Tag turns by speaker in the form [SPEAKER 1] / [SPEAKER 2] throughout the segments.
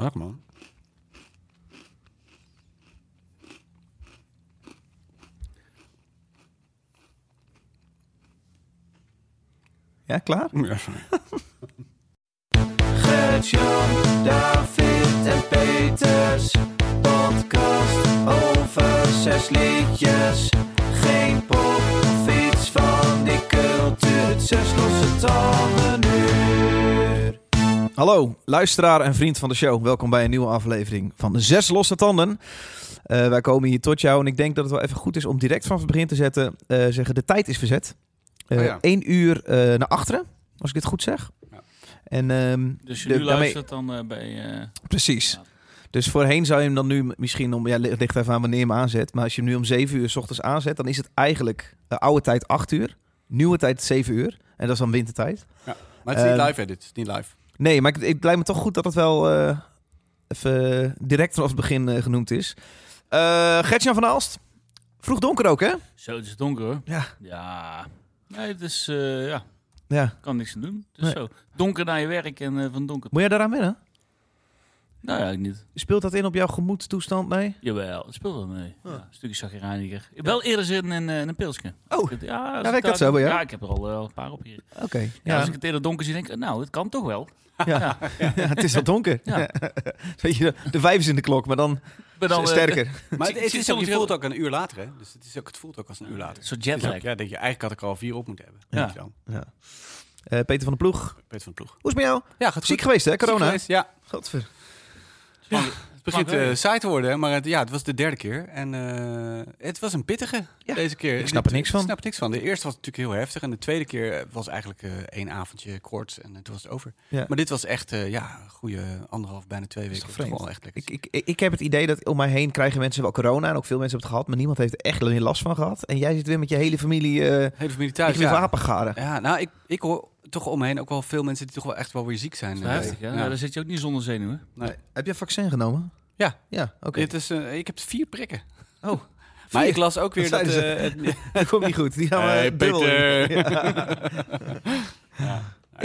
[SPEAKER 1] Echt man.
[SPEAKER 2] Ja, klaar?
[SPEAKER 1] Ja.
[SPEAKER 3] Gert-Jan, David en Peters. Podcast over zes liedjes. Geen pop, fiets van die cultuur. Zes losse tanden uur.
[SPEAKER 2] Hallo, luisteraar en vriend van de show. Welkom bij een nieuwe aflevering van Zes Losse Tanden. Eh, wij komen hier tot jou en ik denk dat het wel even goed is om direct vanaf het begin te zetten. eh, zeggen, de tijd is verzet. Eh
[SPEAKER 1] Ah, ja.
[SPEAKER 2] Eén uur eh, naar achteren, als ik dit goed zeg.
[SPEAKER 1] Ja.
[SPEAKER 2] En, ehm,
[SPEAKER 4] Dus je
[SPEAKER 2] de-
[SPEAKER 4] nu
[SPEAKER 2] daarmee-
[SPEAKER 4] luistert dan eh, bij... eh,
[SPEAKER 2] Precies. Dus voorheen zou je hem dan nu misschien om... Ja, het ligt even aan wanneer je hem aanzet. Maar als je hem nu om 7 uur s ochtends aanzet... dan is het eigenlijk eh, oude tijd 8 uur. Nieuwe tijd 7 uur. En dat is dan wintertijd.
[SPEAKER 1] Maar het is niet
[SPEAKER 2] Ehm,
[SPEAKER 1] live edit, het is niet live.
[SPEAKER 2] Nee, maar ik- het lijkt me toch goed dat het wel... eh, even direct vanaf het begin eh, genoemd is. Eh Gertjan van Aalst. Vroeg donker ook, hè?
[SPEAKER 4] Zo, het is donker hoor.
[SPEAKER 2] Ja.
[SPEAKER 4] Ja. Nee, het is... eh, ja,
[SPEAKER 2] Ja.
[SPEAKER 4] kan niks aan doen. Het is
[SPEAKER 2] Nee.
[SPEAKER 4] zo. Donker naar je werk en eh, van donker...
[SPEAKER 2] Moet jij daaraan wennen?
[SPEAKER 4] Nou ja, ik niet.
[SPEAKER 2] Speelt dat in op jouw gemoedstoestand mee?
[SPEAKER 4] Jawel, het speelt wel mee. Ja, een stukje zagrijniger. Ik Wel eerder zin in, eh, in een pilsje.
[SPEAKER 2] Oh.
[SPEAKER 4] ja, als
[SPEAKER 2] werkt
[SPEAKER 4] ik
[SPEAKER 2] dat zo bij jou?
[SPEAKER 4] Ja, ik heb er al eh, een paar op hier.
[SPEAKER 2] Oké.
[SPEAKER 4] Ja,
[SPEAKER 2] Ja,
[SPEAKER 4] als ik het eerder donker zie, denk ik, nou, het kan toch wel.
[SPEAKER 2] ja. Ja, het is al donker.
[SPEAKER 4] Ja.
[SPEAKER 2] Ja. Weet je, de vijf is in de klok, maar dan,
[SPEAKER 4] Maar dan, eh,
[SPEAKER 2] sterker.
[SPEAKER 1] Maar
[SPEAKER 4] zie-
[SPEAKER 1] het, het
[SPEAKER 4] zie
[SPEAKER 1] is ook, je
[SPEAKER 4] soms
[SPEAKER 1] voelt ook een uur later, hè? Dus het, is ook, het voelt ook als een uur later.
[SPEAKER 4] Een soort
[SPEAKER 1] Het is ook-
[SPEAKER 4] jetlag.
[SPEAKER 1] Ja, denk je, eigenlijk had ik er al vier op moeten hebben.
[SPEAKER 4] Ja.
[SPEAKER 1] Denk je dan.
[SPEAKER 2] Ja. Eh, Peter van de Ploeg.
[SPEAKER 1] Peter van de ploeg.
[SPEAKER 2] Hoe is het met jou?
[SPEAKER 1] Ja, gaat
[SPEAKER 2] Ziek geweest, hè? Corona?
[SPEAKER 1] geweest, ja.
[SPEAKER 2] Godver.
[SPEAKER 1] Het begint
[SPEAKER 4] Maar wel,
[SPEAKER 1] eh,
[SPEAKER 4] ja.
[SPEAKER 1] saai te worden, hè, maar het, ja, het was de derde keer. En eh, het was een pittige
[SPEAKER 2] Ja,
[SPEAKER 1] deze keer.
[SPEAKER 2] ik snap er niks van.
[SPEAKER 1] Ik snap er niks van. De eerste was natuurlijk heel heftig. En de tweede keer eh, was eigenlijk eh, één avondje kort en eh, toen was het over.
[SPEAKER 2] Ja.
[SPEAKER 1] Maar dit was echt, eh ja, een goede anderhalf, bijna twee
[SPEAKER 2] is
[SPEAKER 1] weken.
[SPEAKER 2] toch
[SPEAKER 1] Het was
[SPEAKER 2] vreemd?
[SPEAKER 1] wel echt lekker.
[SPEAKER 2] Ik, ik, ik heb het idee dat om mij heen krijgen mensen wel corona. En ook veel mensen hebben het gehad. Maar niemand heeft er echt meer last van gehad. En jij zit weer met je hele familie. eh
[SPEAKER 1] Hele familie
[SPEAKER 2] ik
[SPEAKER 1] thuis,
[SPEAKER 2] wil
[SPEAKER 1] ja.
[SPEAKER 2] wapengaren.
[SPEAKER 1] ja. Nou, ik, ik hoor toch omheen ook wel veel mensen die toch wel echt wel weer ziek zijn.
[SPEAKER 4] Dat is wel
[SPEAKER 1] eh,
[SPEAKER 4] heftig, hè?
[SPEAKER 1] ja.
[SPEAKER 4] Nou, daar zit je ook niet zonder zenuwen.
[SPEAKER 1] Nee.
[SPEAKER 2] Eh, Heb je vaccin genomen?
[SPEAKER 1] Ja.
[SPEAKER 2] Ja, oké.
[SPEAKER 1] Dit is, eh, ik heb vier prikken.
[SPEAKER 2] Oh,
[SPEAKER 1] Maar
[SPEAKER 2] vier.
[SPEAKER 1] ik las ook weer
[SPEAKER 2] Dat
[SPEAKER 1] dat...
[SPEAKER 2] zeiden
[SPEAKER 1] eh, het-
[SPEAKER 2] Dat komt niet goed. Die gaan we
[SPEAKER 1] Hey,
[SPEAKER 2] dubbel in.
[SPEAKER 1] Peter.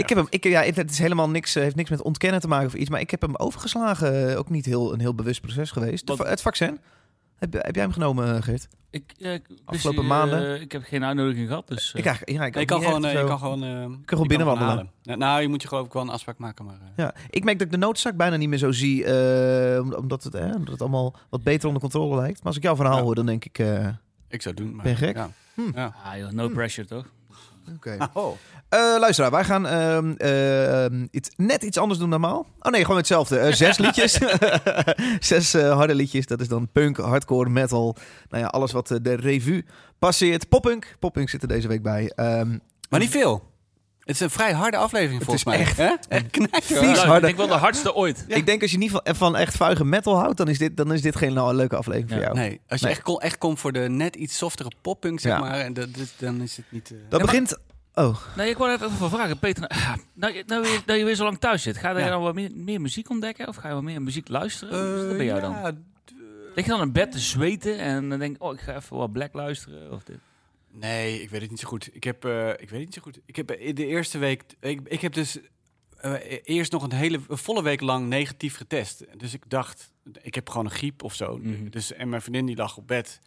[SPEAKER 2] Ik heb hem, ik, ja, het- het is helemaal niks, eh, heeft niks met ontkennen te maken of iets. Maar ik heb hem overgeslagen. eh, Ook niet heel, een heel bewust proces geweest. De
[SPEAKER 4] Wat-
[SPEAKER 2] va- het vaccin. Heb, heb jij hem genomen, eh, Geert?
[SPEAKER 4] Ik, ja, ik- dus,
[SPEAKER 2] Afgelopen
[SPEAKER 4] eh,
[SPEAKER 2] maanden?
[SPEAKER 4] ik heb geen uitnodiging gehad, dus... eh,
[SPEAKER 2] Ik, eigenlijk- ja, ik,
[SPEAKER 1] Nee, je,
[SPEAKER 2] ook
[SPEAKER 1] kan
[SPEAKER 2] niet
[SPEAKER 1] gewoon,
[SPEAKER 2] echt
[SPEAKER 1] eh, je
[SPEAKER 2] zo.
[SPEAKER 1] kan gewoon... eh, je kan
[SPEAKER 2] binnenwandelen.
[SPEAKER 1] gewoon halen. Nou, je moet je geloof ik wel een afspraak maken, maar... eh,
[SPEAKER 2] Ja, ik merk dat ik de noodzaak bijna niet meer zo zie, eh, om- omdat, het, eh, omdat het allemaal wat beter onder controle lijkt. Maar als ik jouw verhaal
[SPEAKER 1] Ja.
[SPEAKER 2] hoor, dan denk ik... eh,
[SPEAKER 1] Ik zou het doen, maar...
[SPEAKER 2] Ben je gek?
[SPEAKER 1] Ja.
[SPEAKER 4] Ah joh,
[SPEAKER 2] Hm.
[SPEAKER 4] no pressure toch?
[SPEAKER 1] Oh.
[SPEAKER 2] Eh, luisteraar, wij gaan ehm, ehm, iets, net iets anders doen dan normaal. Oh nee, gewoon hetzelfde. Eh, zes liedjes. zes eh, harde liedjes. Dat is dan punk, hardcore, metal. Nou ja, alles wat eh, de revue passeert. Poppunk. Poppunk zit er deze week bij. Ehm,
[SPEAKER 1] Maar niet veel. Het is een vrij harde aflevering volgens
[SPEAKER 2] is
[SPEAKER 1] mij.
[SPEAKER 2] echt-
[SPEAKER 1] Hè? Echt knijter.
[SPEAKER 2] Vies.
[SPEAKER 1] hoor.
[SPEAKER 4] Nou, ik
[SPEAKER 2] harder.
[SPEAKER 4] denk wel de hardste ooit.
[SPEAKER 2] Ik denk als je niet van, van echt vuige metal houdt, dan is dit, dan is dit geen nou, leuke aflevering
[SPEAKER 4] Ja,
[SPEAKER 2] voor jou.
[SPEAKER 1] Nee, als je
[SPEAKER 2] Nee.
[SPEAKER 1] echt, kon, echt komt voor de net iets softere poppunk, zeg
[SPEAKER 2] Ja.
[SPEAKER 1] maar, en dat, dat- dan is het niet... eh,
[SPEAKER 2] Dat
[SPEAKER 1] ja, maar-
[SPEAKER 2] begint... Oh,
[SPEAKER 4] Nee, ik wou net even vragen, Peter. Nou, ah, nou, je- nou, je- dat je weer zo lang thuis zit, ga je
[SPEAKER 1] Ja.
[SPEAKER 4] dan wat meer, meer muziek ontdekken? Of ga je wat meer muziek luisteren? Hoe is dat
[SPEAKER 1] Eh,
[SPEAKER 4] bij jou dan?
[SPEAKER 1] ja,
[SPEAKER 4] Lig je dan in bed te zweten en dan denk ik, oh, ik ga even wat Black luisteren of dit.
[SPEAKER 1] Nee, ik weet het niet zo goed. Ik heb, eh, ik weet het niet zo goed. Ik heb eh, de eerste week, ik, ik heb dus eh, eerst nog een hele een volle week lang negatief getest. Dus ik dacht, ik heb gewoon een griep of zo.
[SPEAKER 4] Mhm.
[SPEAKER 1] Dus en mijn vriendin die lag op bed.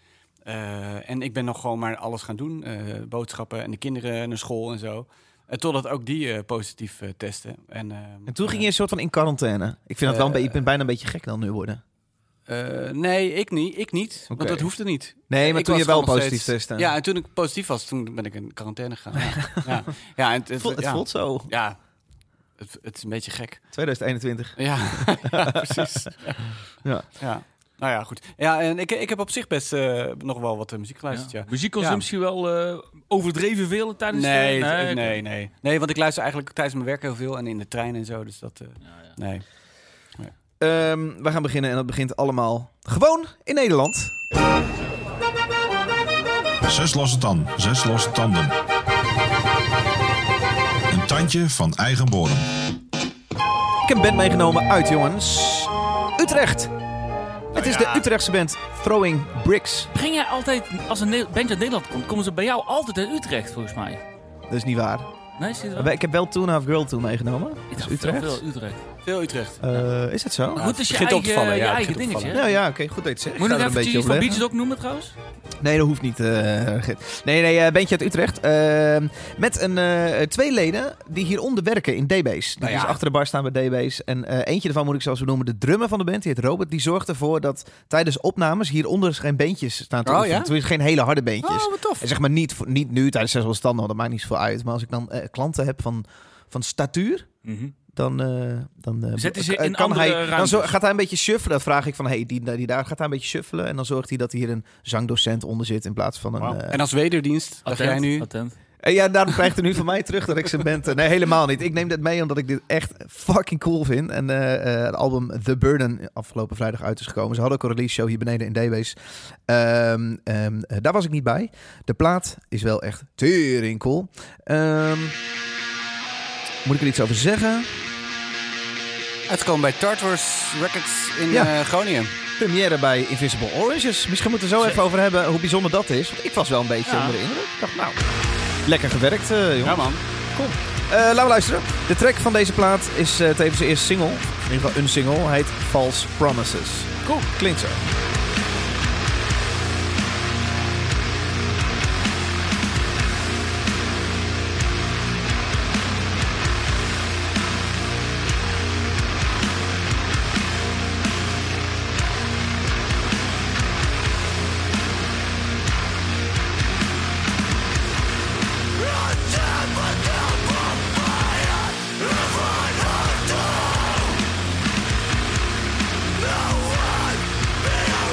[SPEAKER 1] Eh, en ik ben nog gewoon maar alles gaan doen, Eh, boodschappen en de kinderen naar school en zo. Eh, totdat ook die eh, positief eh, testen. En, eh,
[SPEAKER 2] en toen ging je een soort van in quarantaine. Ik vind dat wel een beetje... Ik ben bijna een beetje gek dan nu worden.
[SPEAKER 1] eh, nee, ik niet. Ik niet,
[SPEAKER 2] Oké.
[SPEAKER 1] want dat hoefde niet.
[SPEAKER 2] Nee, maar
[SPEAKER 1] Ik
[SPEAKER 2] toen je
[SPEAKER 1] was
[SPEAKER 2] wel
[SPEAKER 1] gewoon nog
[SPEAKER 2] positief
[SPEAKER 1] steeds-
[SPEAKER 2] testte.
[SPEAKER 1] Ja, en toen ik positief was, toen ben ik in quarantaine gegaan. Ja, ja. ja en
[SPEAKER 2] Het voelt, het
[SPEAKER 1] ja.
[SPEAKER 2] voelt zo.
[SPEAKER 1] Ja, het, het is een beetje gek.
[SPEAKER 2] 2021.
[SPEAKER 1] Ja, ja, precies.
[SPEAKER 2] Ja.
[SPEAKER 1] ja. Nou ja, goed. Ja, en ik, ik heb op zich best eh, nog wel wat eh, muziek geluisterd, ja.
[SPEAKER 4] Muziekconsumptie wel eh, overdreven veel tijdens
[SPEAKER 1] Nee,
[SPEAKER 4] de...
[SPEAKER 1] eh, nee,
[SPEAKER 4] oké.
[SPEAKER 1] nee, nee. Nee, want ik luister eigenlijk tijdens mijn werk heel veel en in de trein en zo. Dus dat, eh,
[SPEAKER 4] Ja, ja.
[SPEAKER 1] nee.
[SPEAKER 2] Ehm, we gaan beginnen en dat begint allemaal gewoon in Nederland.
[SPEAKER 5] Zes losse tanden, zes losse tanden. Een tandje van eigen bodem.
[SPEAKER 2] Ik heb een band meegenomen uit, jongens. Utrecht. Het is de Utrechtse band Throwing Bricks.
[SPEAKER 4] Ging jij altijd, als een Ne- bandje uit Nederland komt, komen ze bij jou altijd uit Utrecht volgens mij?
[SPEAKER 2] Dat is niet waar.
[SPEAKER 4] Nee, zit er wel?
[SPEAKER 2] Maar Ik heb wel Two and a Half Girl toen meegenomen.
[SPEAKER 4] Ik
[SPEAKER 2] Dat is
[SPEAKER 4] dacht wel
[SPEAKER 2] Utrecht.
[SPEAKER 4] veel Utrecht.
[SPEAKER 1] Veel Utrecht.
[SPEAKER 2] Eh, is dat zo?
[SPEAKER 4] Maar goed, het is je
[SPEAKER 1] begint
[SPEAKER 4] eigen,
[SPEAKER 1] op te vallen,
[SPEAKER 4] je
[SPEAKER 1] ja, het
[SPEAKER 4] eigen
[SPEAKER 1] begint op te
[SPEAKER 4] dingetje.
[SPEAKER 2] Nou ja, oké, goed dat je het zegt.
[SPEAKER 4] Moet ik
[SPEAKER 2] Ik
[SPEAKER 4] nog
[SPEAKER 2] zou er
[SPEAKER 4] eventjes
[SPEAKER 2] een
[SPEAKER 4] iets van
[SPEAKER 2] beetje
[SPEAKER 4] Beaches ook noemen trouwens?
[SPEAKER 2] op leggen. Nee, dat hoeft niet. eh, Git. nee, nee, eh, Bentje uit Utrecht. Eh, met een, eh, twee leden die hieronder werken in DB's. Die
[SPEAKER 1] Nou ja.
[SPEAKER 2] dus achter de bar staan bij DB's. En eh, eentje daarvan moet ik zelfs noemen. De drummer van de band, die heet Robert. Die zorgt ervoor dat tijdens opnames hieronder dus geen beentjes staan te
[SPEAKER 1] Oh,
[SPEAKER 2] oefenen.
[SPEAKER 1] ja?
[SPEAKER 2] Tenminste, geen hele harde beentjes.
[SPEAKER 1] Oh, wat tof.
[SPEAKER 2] En zeg maar niet, voor- niet nu tijdens zes standen, want dat maakt niet zoveel uit. Maar als ik dan eh, klanten heb van, van statuur,
[SPEAKER 1] Mhm.
[SPEAKER 2] dan, eh, dan eh,
[SPEAKER 4] Zet hij ze
[SPEAKER 2] eh,
[SPEAKER 4] in andere
[SPEAKER 2] hij, dan
[SPEAKER 4] ruimtes?
[SPEAKER 2] zo- gaat hij een beetje shuffelen. Dan vraag ik van, hey, die, die daar gaat hij een beetje shuffelen. En dan zorgt hij dat hier een zangdocent onder zit in plaats van een...
[SPEAKER 1] Wauw.
[SPEAKER 2] eh,
[SPEAKER 1] en als wederdienst, dacht jij nu?
[SPEAKER 4] Attent.
[SPEAKER 2] eh, ja, daarom krijgt hij nu van mij terug dat ik zijn band... eh, nee, helemaal niet. Ik neem dit mee omdat ik dit echt fucking cool vind. En eh, eh, het album The Burden afgelopen vrijdag uit is gekomen. Ze hadden ook een release show hier beneden in DB's. Ehm, ehm, eh, daar was ik niet bij. De plaat is wel echt tering cool. Ehm, moet ik er iets over zeggen?
[SPEAKER 1] Uitkomen bij Tartars Records in
[SPEAKER 2] Ja.
[SPEAKER 1] eh, Groningen.
[SPEAKER 2] première bij Invisible Oranges. Misschien moeten we het zo even over hebben hoe bijzonder dat is. Want ik was wel een beetje
[SPEAKER 1] Ja.
[SPEAKER 2] onder de indruk. Ik dacht, nou, lekker gewerkt, eh jongen.
[SPEAKER 1] Ja, man.
[SPEAKER 2] Eh, laten we luisteren. De track van deze plaat is eh tevens de eerste single. In ieder geval een single. Heet False Promises. Cool. Klinkt zo.
[SPEAKER 6] Thank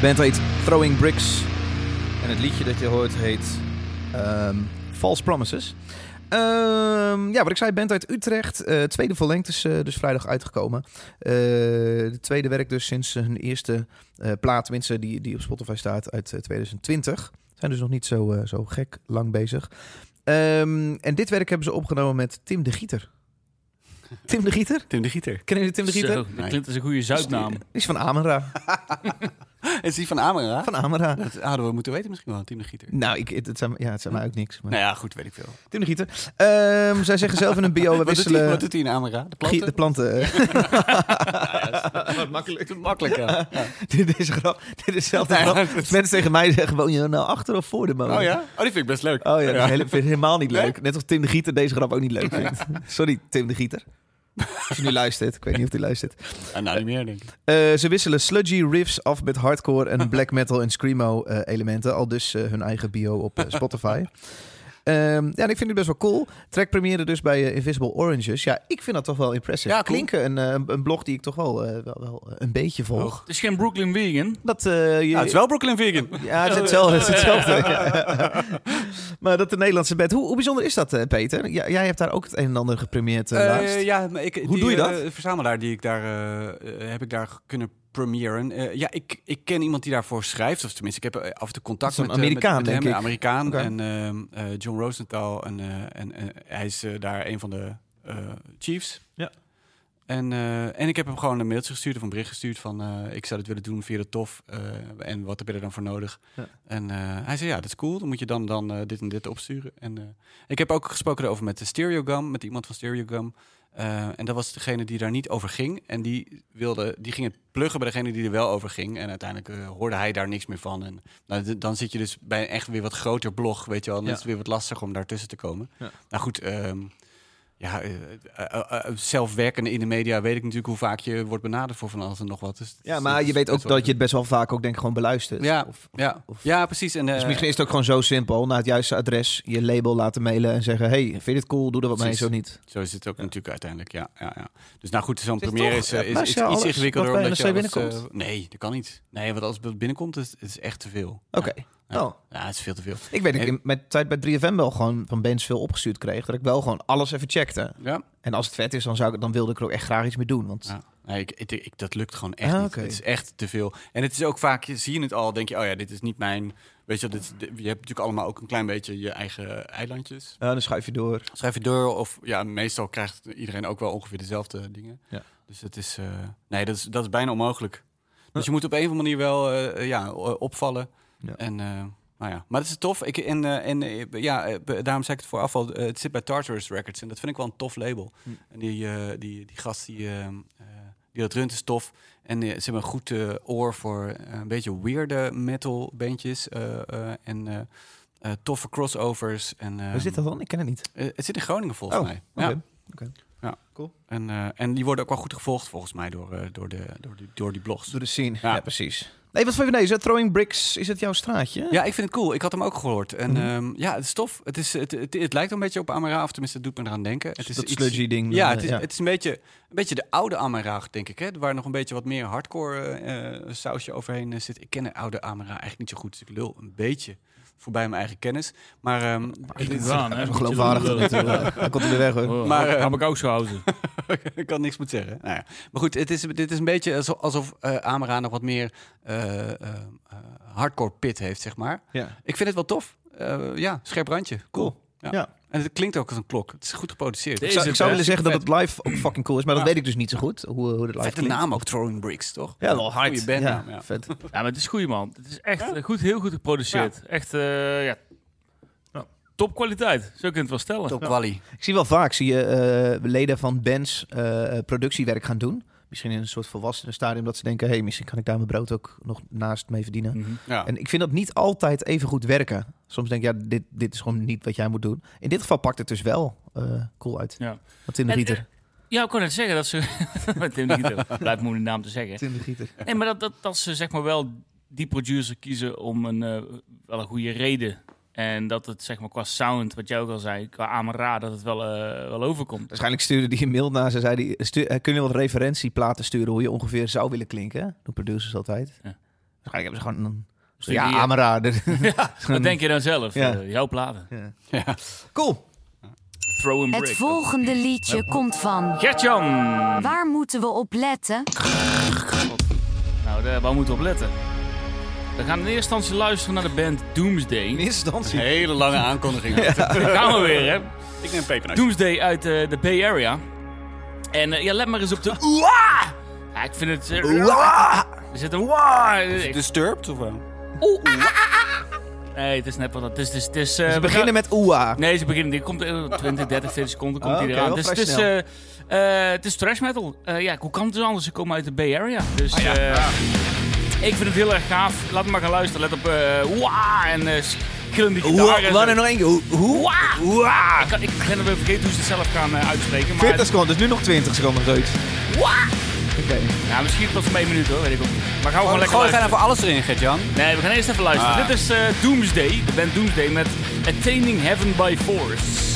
[SPEAKER 2] band heet Throwing Bricks. En het liedje dat je hoort heet ehm, False Promises. Ehm, ja, wat ik zei, band uit Utrecht. Eh, tweede verlengd is eh, dus vrijdag uitgekomen. Eh, de tweede werk dus sinds hun eerste eh plaat, tenminste die, die op Spotify staat, uit eh, 2020. Zijn dus nog niet zo, eh, zo gek lang bezig. Ehm, en dit werk hebben ze opgenomen met Tim de Gieter. Tim de Gieter?
[SPEAKER 1] Tim de Gieter.
[SPEAKER 2] Kennen jullie Tim de Gieter?
[SPEAKER 4] Zo, dat klinkt als een goede
[SPEAKER 1] Dus
[SPEAKER 4] Zuidnaam.
[SPEAKER 2] Die is van Amara.
[SPEAKER 1] Is die van Amara?
[SPEAKER 2] Van Amara.
[SPEAKER 1] Dat hadden we moeten weten misschien wel, Tim de Gieter.
[SPEAKER 2] Nou, ik, het, het zijn, ja, het zijn mij ook niks. Maar.
[SPEAKER 1] Nou ja, goed, weet ik veel.
[SPEAKER 2] Tim de Gieter. Ehm, zij zeggen zelf in een bio, we
[SPEAKER 1] Wat doet, hij,
[SPEAKER 2] wisselen...
[SPEAKER 1] wat doet hij in Amara? De
[SPEAKER 2] Gie-
[SPEAKER 1] planten?
[SPEAKER 2] De planten.
[SPEAKER 1] makkelijk. Makkelijk, ja. Ja.
[SPEAKER 2] dit is grap. Dit is zelf grap.
[SPEAKER 1] Ja, dat-
[SPEAKER 2] Als mensen tegen mij zeggen, woon je nou achter of voor de molen?
[SPEAKER 1] Oh ja? Oh, die vind ik best leuk.
[SPEAKER 2] Oh ja, dat
[SPEAKER 1] Ja.
[SPEAKER 2] is hele- vind ik helemaal niet
[SPEAKER 1] Nee?
[SPEAKER 2] leuk. Net als Tim de Gieter deze grap ook niet leuk vindt. Sorry, Tim de Gieter. Als je nu luistert. Ik weet niet of hij luistert.
[SPEAKER 1] Ah, nou, niet meer, denk ik.
[SPEAKER 2] Eh, ze wisselen sludgy riffs af met hardcore en black metal en screamo eh, elementen. Al dus eh, hun eigen bio op eh, Spotify. Ehm, ja, en ik vind het best wel cool. Track premiere dus bij eh, Invisible Oranges. Ja, ik vind dat toch wel impressive.
[SPEAKER 1] Ja, cool.
[SPEAKER 2] Klinken, een, eh, een blog die ik toch wel, eh, wel, wel een beetje volg.
[SPEAKER 4] Het is geen Brooklyn Vegan.
[SPEAKER 2] Dat, eh, je,
[SPEAKER 1] Nou, het is wel Brooklyn Vegan.
[SPEAKER 2] Ja, het is hetzelfde. Het is hetzelfde. ja. maar dat de Nederlandse band. Hoe, hoe bijzonder is dat, eh, Peter? Ja, jij hebt daar ook het een en ander gepremeerd eh, laatst.
[SPEAKER 1] Eh, ja, maar ik,
[SPEAKER 2] Hoe doe je dat?
[SPEAKER 1] eh, verzamelaar die ik daar eh, eh, heb ik daar kunnen premieren. Eh, ja, ik, ik ken iemand die daarvoor schrijft, of tenminste, ik heb eh, af en toe contact
[SPEAKER 2] Dat
[SPEAKER 1] met,
[SPEAKER 2] is een
[SPEAKER 1] eh, met-
[SPEAKER 2] Amerikaan,
[SPEAKER 1] met
[SPEAKER 2] denk
[SPEAKER 1] hem,
[SPEAKER 2] ik.
[SPEAKER 1] een Amerikaan
[SPEAKER 2] Oké.
[SPEAKER 1] en ehm, eh, John Rosenthal en, eh, en eh, hij is eh, daar een van de eh, Chiefs.
[SPEAKER 2] Ja.
[SPEAKER 1] En, eh, en ik heb hem gewoon een mailtje gestuurd of een bericht gestuurd van eh, ik zou dit willen doen via de tof eh, en wat heb je er dan voor nodig?
[SPEAKER 2] Ja.
[SPEAKER 1] En eh, hij zei ja, dat is cool, dan moet je dan, dan eh, dit en dit opsturen. En eh, ik heb ook gesproken over met de Stereogum, met iemand van Stereogum. Eh, en dat was degene die daar niet over ging. En die, wilde, die ging het pluggen bij degene die er wel over ging. En uiteindelijk eh, hoorde hij daar niks meer van. En nou, d- dan zit je dus bij een echt weer wat groter blog, weet je wel. Dan
[SPEAKER 2] Ja.
[SPEAKER 1] is het weer wat lastig om daartussen te komen.
[SPEAKER 2] Ja.
[SPEAKER 1] Nou goed, ehm, ja, eh, eh, eh, eh, zelf werkende in de media weet ik natuurlijk hoe vaak je wordt benaderd voor van alles en nog wat. Dus,
[SPEAKER 2] Ja, maar je weet ook dat je het best wel vaak ook denk ik gewoon beluistert.
[SPEAKER 1] Ja,
[SPEAKER 2] Of-
[SPEAKER 1] ja,
[SPEAKER 2] of-
[SPEAKER 1] ja, precies. En,
[SPEAKER 2] Dus
[SPEAKER 1] eh,
[SPEAKER 2] misschien is het ook gewoon zo simpel. Naar het juiste adres je label laten mailen en zeggen... hey, vind je dit cool? Doe er wat mee,
[SPEAKER 1] Precies.
[SPEAKER 2] zo niet.
[SPEAKER 1] Zo is het ook natuurlijk uiteindelijk, ja. ja, ja. Dus nou goed, zo'n
[SPEAKER 2] Het is
[SPEAKER 1] première
[SPEAKER 2] toch,
[SPEAKER 1] is,
[SPEAKER 2] ja,
[SPEAKER 1] eh, is,
[SPEAKER 2] luister
[SPEAKER 1] is
[SPEAKER 2] je alles
[SPEAKER 1] iets ingewikkelder.
[SPEAKER 2] wat bij
[SPEAKER 1] omdat je
[SPEAKER 2] NRC
[SPEAKER 1] alles, eh, nee, dat kan niet. Nee, want als het binnenkomt, is het is echt te veel.
[SPEAKER 2] Oké.
[SPEAKER 1] Ja.
[SPEAKER 2] Oh,
[SPEAKER 1] Ja, het is veel te veel.
[SPEAKER 2] ik weet dat ik
[SPEAKER 1] En-
[SPEAKER 2] in mijn tijd bij 3FM wel gewoon van bands veel opgestuurd kreeg. Dat ik wel gewoon alles even checkte.
[SPEAKER 1] Ja,
[SPEAKER 2] En als het vet is, dan, zou ik, dan wilde ik er ook echt graag iets mee doen. Want
[SPEAKER 1] ja. Nee, ik, ik, ik- dat lukt gewoon echt
[SPEAKER 2] Ah,
[SPEAKER 1] niet.
[SPEAKER 2] oké.
[SPEAKER 1] Het is echt te veel. En het is ook vaak, je ziet het al, denk je, oh ja, dit is niet mijn... Weet je, wel, dit, is- dit- je hebt natuurlijk allemaal ook een klein beetje je eigen eilandjes.
[SPEAKER 2] ja, Eh, dan schuif je door.
[SPEAKER 1] Schrijf je door of ja, meestal krijgt iedereen ook wel ongeveer dezelfde dingen.
[SPEAKER 2] Ja.
[SPEAKER 1] Dus het is, eh, nee, dat is, dat is bijna onmogelijk.
[SPEAKER 2] Nou-
[SPEAKER 1] Dus je moet op een of andere manier wel eh, ja, o- opvallen.
[SPEAKER 2] Ja.
[SPEAKER 1] En, eh, nou ja. Maar dat is tof. Ik, en eh, en eh, ja, eh, be- daarom zei ik het voor afval. eh, het zit bij Tartarus Records en dat vind ik wel een tof label.
[SPEAKER 2] Hm.
[SPEAKER 1] En die, eh, die, die gast die, eh, eh, die dat runt is tof. En eh, ze hebben een goed eh, oor voor eh, een beetje weirde metal bandjes. eh, eh, en eh, eh, toffe crossovers. En,
[SPEAKER 2] Waar
[SPEAKER 1] ehm,
[SPEAKER 2] zit dat dan? Ik ken het niet.
[SPEAKER 1] eh, het zit in Groningen volgens
[SPEAKER 2] Oh,
[SPEAKER 1] mij.
[SPEAKER 2] Oké.
[SPEAKER 1] Ja. En, eh, en die worden ook wel goed gevolgd volgens mij door, eh, door, de, door, de, door die blogs.
[SPEAKER 2] Door de scene. Ja,
[SPEAKER 1] Ja.
[SPEAKER 2] precies. Nee, wat vond je van deze? Throwing Bricks, is het jouw straatje?
[SPEAKER 1] Ja, ik vind het cool. Ik had hem ook gehoord. En
[SPEAKER 2] Mhm.
[SPEAKER 1] ehm, ja, het is tof. Het, is, het, het, het lijkt een beetje op Amara, of tenminste, het doet me eraan denken. Het is
[SPEAKER 2] dat
[SPEAKER 1] iets-
[SPEAKER 2] sludgy ding.
[SPEAKER 1] Ja,
[SPEAKER 2] dan,
[SPEAKER 1] het
[SPEAKER 2] eh,
[SPEAKER 1] is, Het is een, beetje, een beetje de oude Amara, denk ik. Hè? Waar nog een beetje wat meer hardcore eh, eh, sausje overheen eh, zit. Ik ken de oude Amara eigenlijk niet zo goed. Dus ik lul een beetje voorbij mijn eigen kennis. Maar ehm, het is-
[SPEAKER 4] Daan, hè?
[SPEAKER 2] Even geloofwaardig te doen natuurlijk. Hij komt er weer weg hoor.
[SPEAKER 4] Oh,
[SPEAKER 1] Maar,
[SPEAKER 4] maar
[SPEAKER 1] eh,
[SPEAKER 4] heb ik ook zo houden.
[SPEAKER 1] ik kan niks moet zeggen. Nou ja. Maar goed, het is, dit is een beetje alsof, alsof eh, Amara nog wat meer eh, eh, eh, hardcore pit heeft, zeg maar.
[SPEAKER 2] Ja.
[SPEAKER 1] Ik vind het wel tof. Eh, ja, scherp randje. Cool. Ja.
[SPEAKER 2] Ja.
[SPEAKER 1] En het klinkt ook als een klok. Het is goed geproduceerd.
[SPEAKER 2] Ik
[SPEAKER 4] Is
[SPEAKER 2] zou,
[SPEAKER 4] het
[SPEAKER 2] ik zou
[SPEAKER 4] best.
[SPEAKER 2] willen zeggen dat het live ook fucking cool is, maar dat
[SPEAKER 1] Ja.
[SPEAKER 2] weet ik dus niet zo goed. Hoe, hoe het live
[SPEAKER 1] Vette
[SPEAKER 2] klinkt.
[SPEAKER 1] naam ook, Throwing Bricks, toch?
[SPEAKER 2] Ja, wel hard.
[SPEAKER 1] Goeie bandnaam, ja.
[SPEAKER 2] Vet.
[SPEAKER 4] Ja, maar het is goed, man. Het is echt eh, goed, heel goed geproduceerd. Echt, eh ja. Topkwaliteit, zo kun je het wel stellen.
[SPEAKER 1] Top quali.
[SPEAKER 2] Ik zie wel vaak zie je eh, leden van bands eh, productiewerk gaan doen. Misschien in een soort volwassenen stadium dat ze denken... hé, hey, misschien kan ik daar mijn brood ook nog naast mee verdienen.
[SPEAKER 4] Mhm.
[SPEAKER 1] Ja.
[SPEAKER 2] En ik vind dat niet altijd even goed werken. Soms denk ik, ja, dit, dit is gewoon niet wat jij moet doen. In dit geval pakt het dus wel eh, cool uit.
[SPEAKER 4] Ja.
[SPEAKER 2] Wat Tim de
[SPEAKER 4] En,
[SPEAKER 2] Gieter.
[SPEAKER 4] Ja, ik kon net zeggen dat ze... met Tim de Gieter. Blijft moeilijk naam te zeggen.
[SPEAKER 2] Tim de Gieter.
[SPEAKER 4] Nee, maar dat, dat, dat ze zeg maar wel die producer kiezen om een, eh, wel een goede reden. En dat het zeg maar qua sound, wat jij ook al zei, qua Amara, dat het wel, eh, wel overkomt.
[SPEAKER 2] Waarschijnlijk stuurde die een mail naar ze. Zei die, "Stu- eh, kun je wel referentieplaten sturen hoe je ongeveer zou willen klinken? Doen producers altijd.
[SPEAKER 4] Ja.
[SPEAKER 2] Ja. Waarschijnlijk hebben ze gewoon een...
[SPEAKER 4] Stukje-
[SPEAKER 2] ja, Amara.
[SPEAKER 4] Ja, wat denk je dan zelf?
[SPEAKER 2] Ja.
[SPEAKER 4] Eh, jouw platen.
[SPEAKER 1] Ja.
[SPEAKER 2] cool.
[SPEAKER 4] Throw and
[SPEAKER 6] Het
[SPEAKER 4] brick.
[SPEAKER 6] volgende liedje komt van.
[SPEAKER 4] Gertjan!
[SPEAKER 6] Waar moeten we op letten?
[SPEAKER 4] Nou, daar, waar moeten we op letten? We gaan in eerste instantie luisteren naar de band
[SPEAKER 2] In
[SPEAKER 4] Doomsday.
[SPEAKER 2] eerste instantie.
[SPEAKER 1] Een hele lange aankondiging.
[SPEAKER 4] Daar gaan we weer, hè?
[SPEAKER 1] Ik neem pepernoot.
[SPEAKER 4] Doomsday uit eh, de Bay Area. En eh, ja, let maar eens op de... Oeh! Ja, ik vind het... eh, Er zit een... Oeh!
[SPEAKER 2] dus-
[SPEAKER 1] Disturbed of wel?
[SPEAKER 4] Nee, het is net wat dat... Het is... Het is, het is, eh,
[SPEAKER 2] We
[SPEAKER 4] we gaan-
[SPEAKER 2] beginnen met Oeah.
[SPEAKER 4] Nee, ze beginnen. Die komt eh, 20, 30, 40 seconden komt
[SPEAKER 2] Oh,
[SPEAKER 4] die
[SPEAKER 2] oké,
[SPEAKER 4] eraan.
[SPEAKER 2] wel
[SPEAKER 4] Dus
[SPEAKER 2] vrij
[SPEAKER 4] het is,
[SPEAKER 2] snel.
[SPEAKER 4] eh, eh, het is thrash metal. Eh, ja, hoe kan het dus anders? Ze komen uit de Bay Area. Dus
[SPEAKER 2] Ah,
[SPEAKER 4] eh, ik vind het heel erg gaaf. Laat me maar gaan luisteren. Let op eh waa en eh schillende gitaren.
[SPEAKER 2] Wat en nog één keer. Hoe- Hoe?
[SPEAKER 4] Waa! Waa! Ik, kan- ik ben weer vergeten hoe ze het zelf gaan eh, uitspreken. Maar
[SPEAKER 2] 40 seconden, dus nu nog 20 seconden zoiets.
[SPEAKER 4] het- waa!
[SPEAKER 2] Oké.
[SPEAKER 4] Ja, misschien pas om één minuut hoor, weet ik ook niet. Maar gaan we gewoon lekker
[SPEAKER 1] Oh, Gewoon gaan
[SPEAKER 4] luisteren.
[SPEAKER 1] even alles erin, Gert-Jan.
[SPEAKER 4] Nee, we gaan eerst even luisteren.
[SPEAKER 1] Ah.
[SPEAKER 4] Dit is eh, Doomsday, de band Doomsday met Attaining Heaven by Force.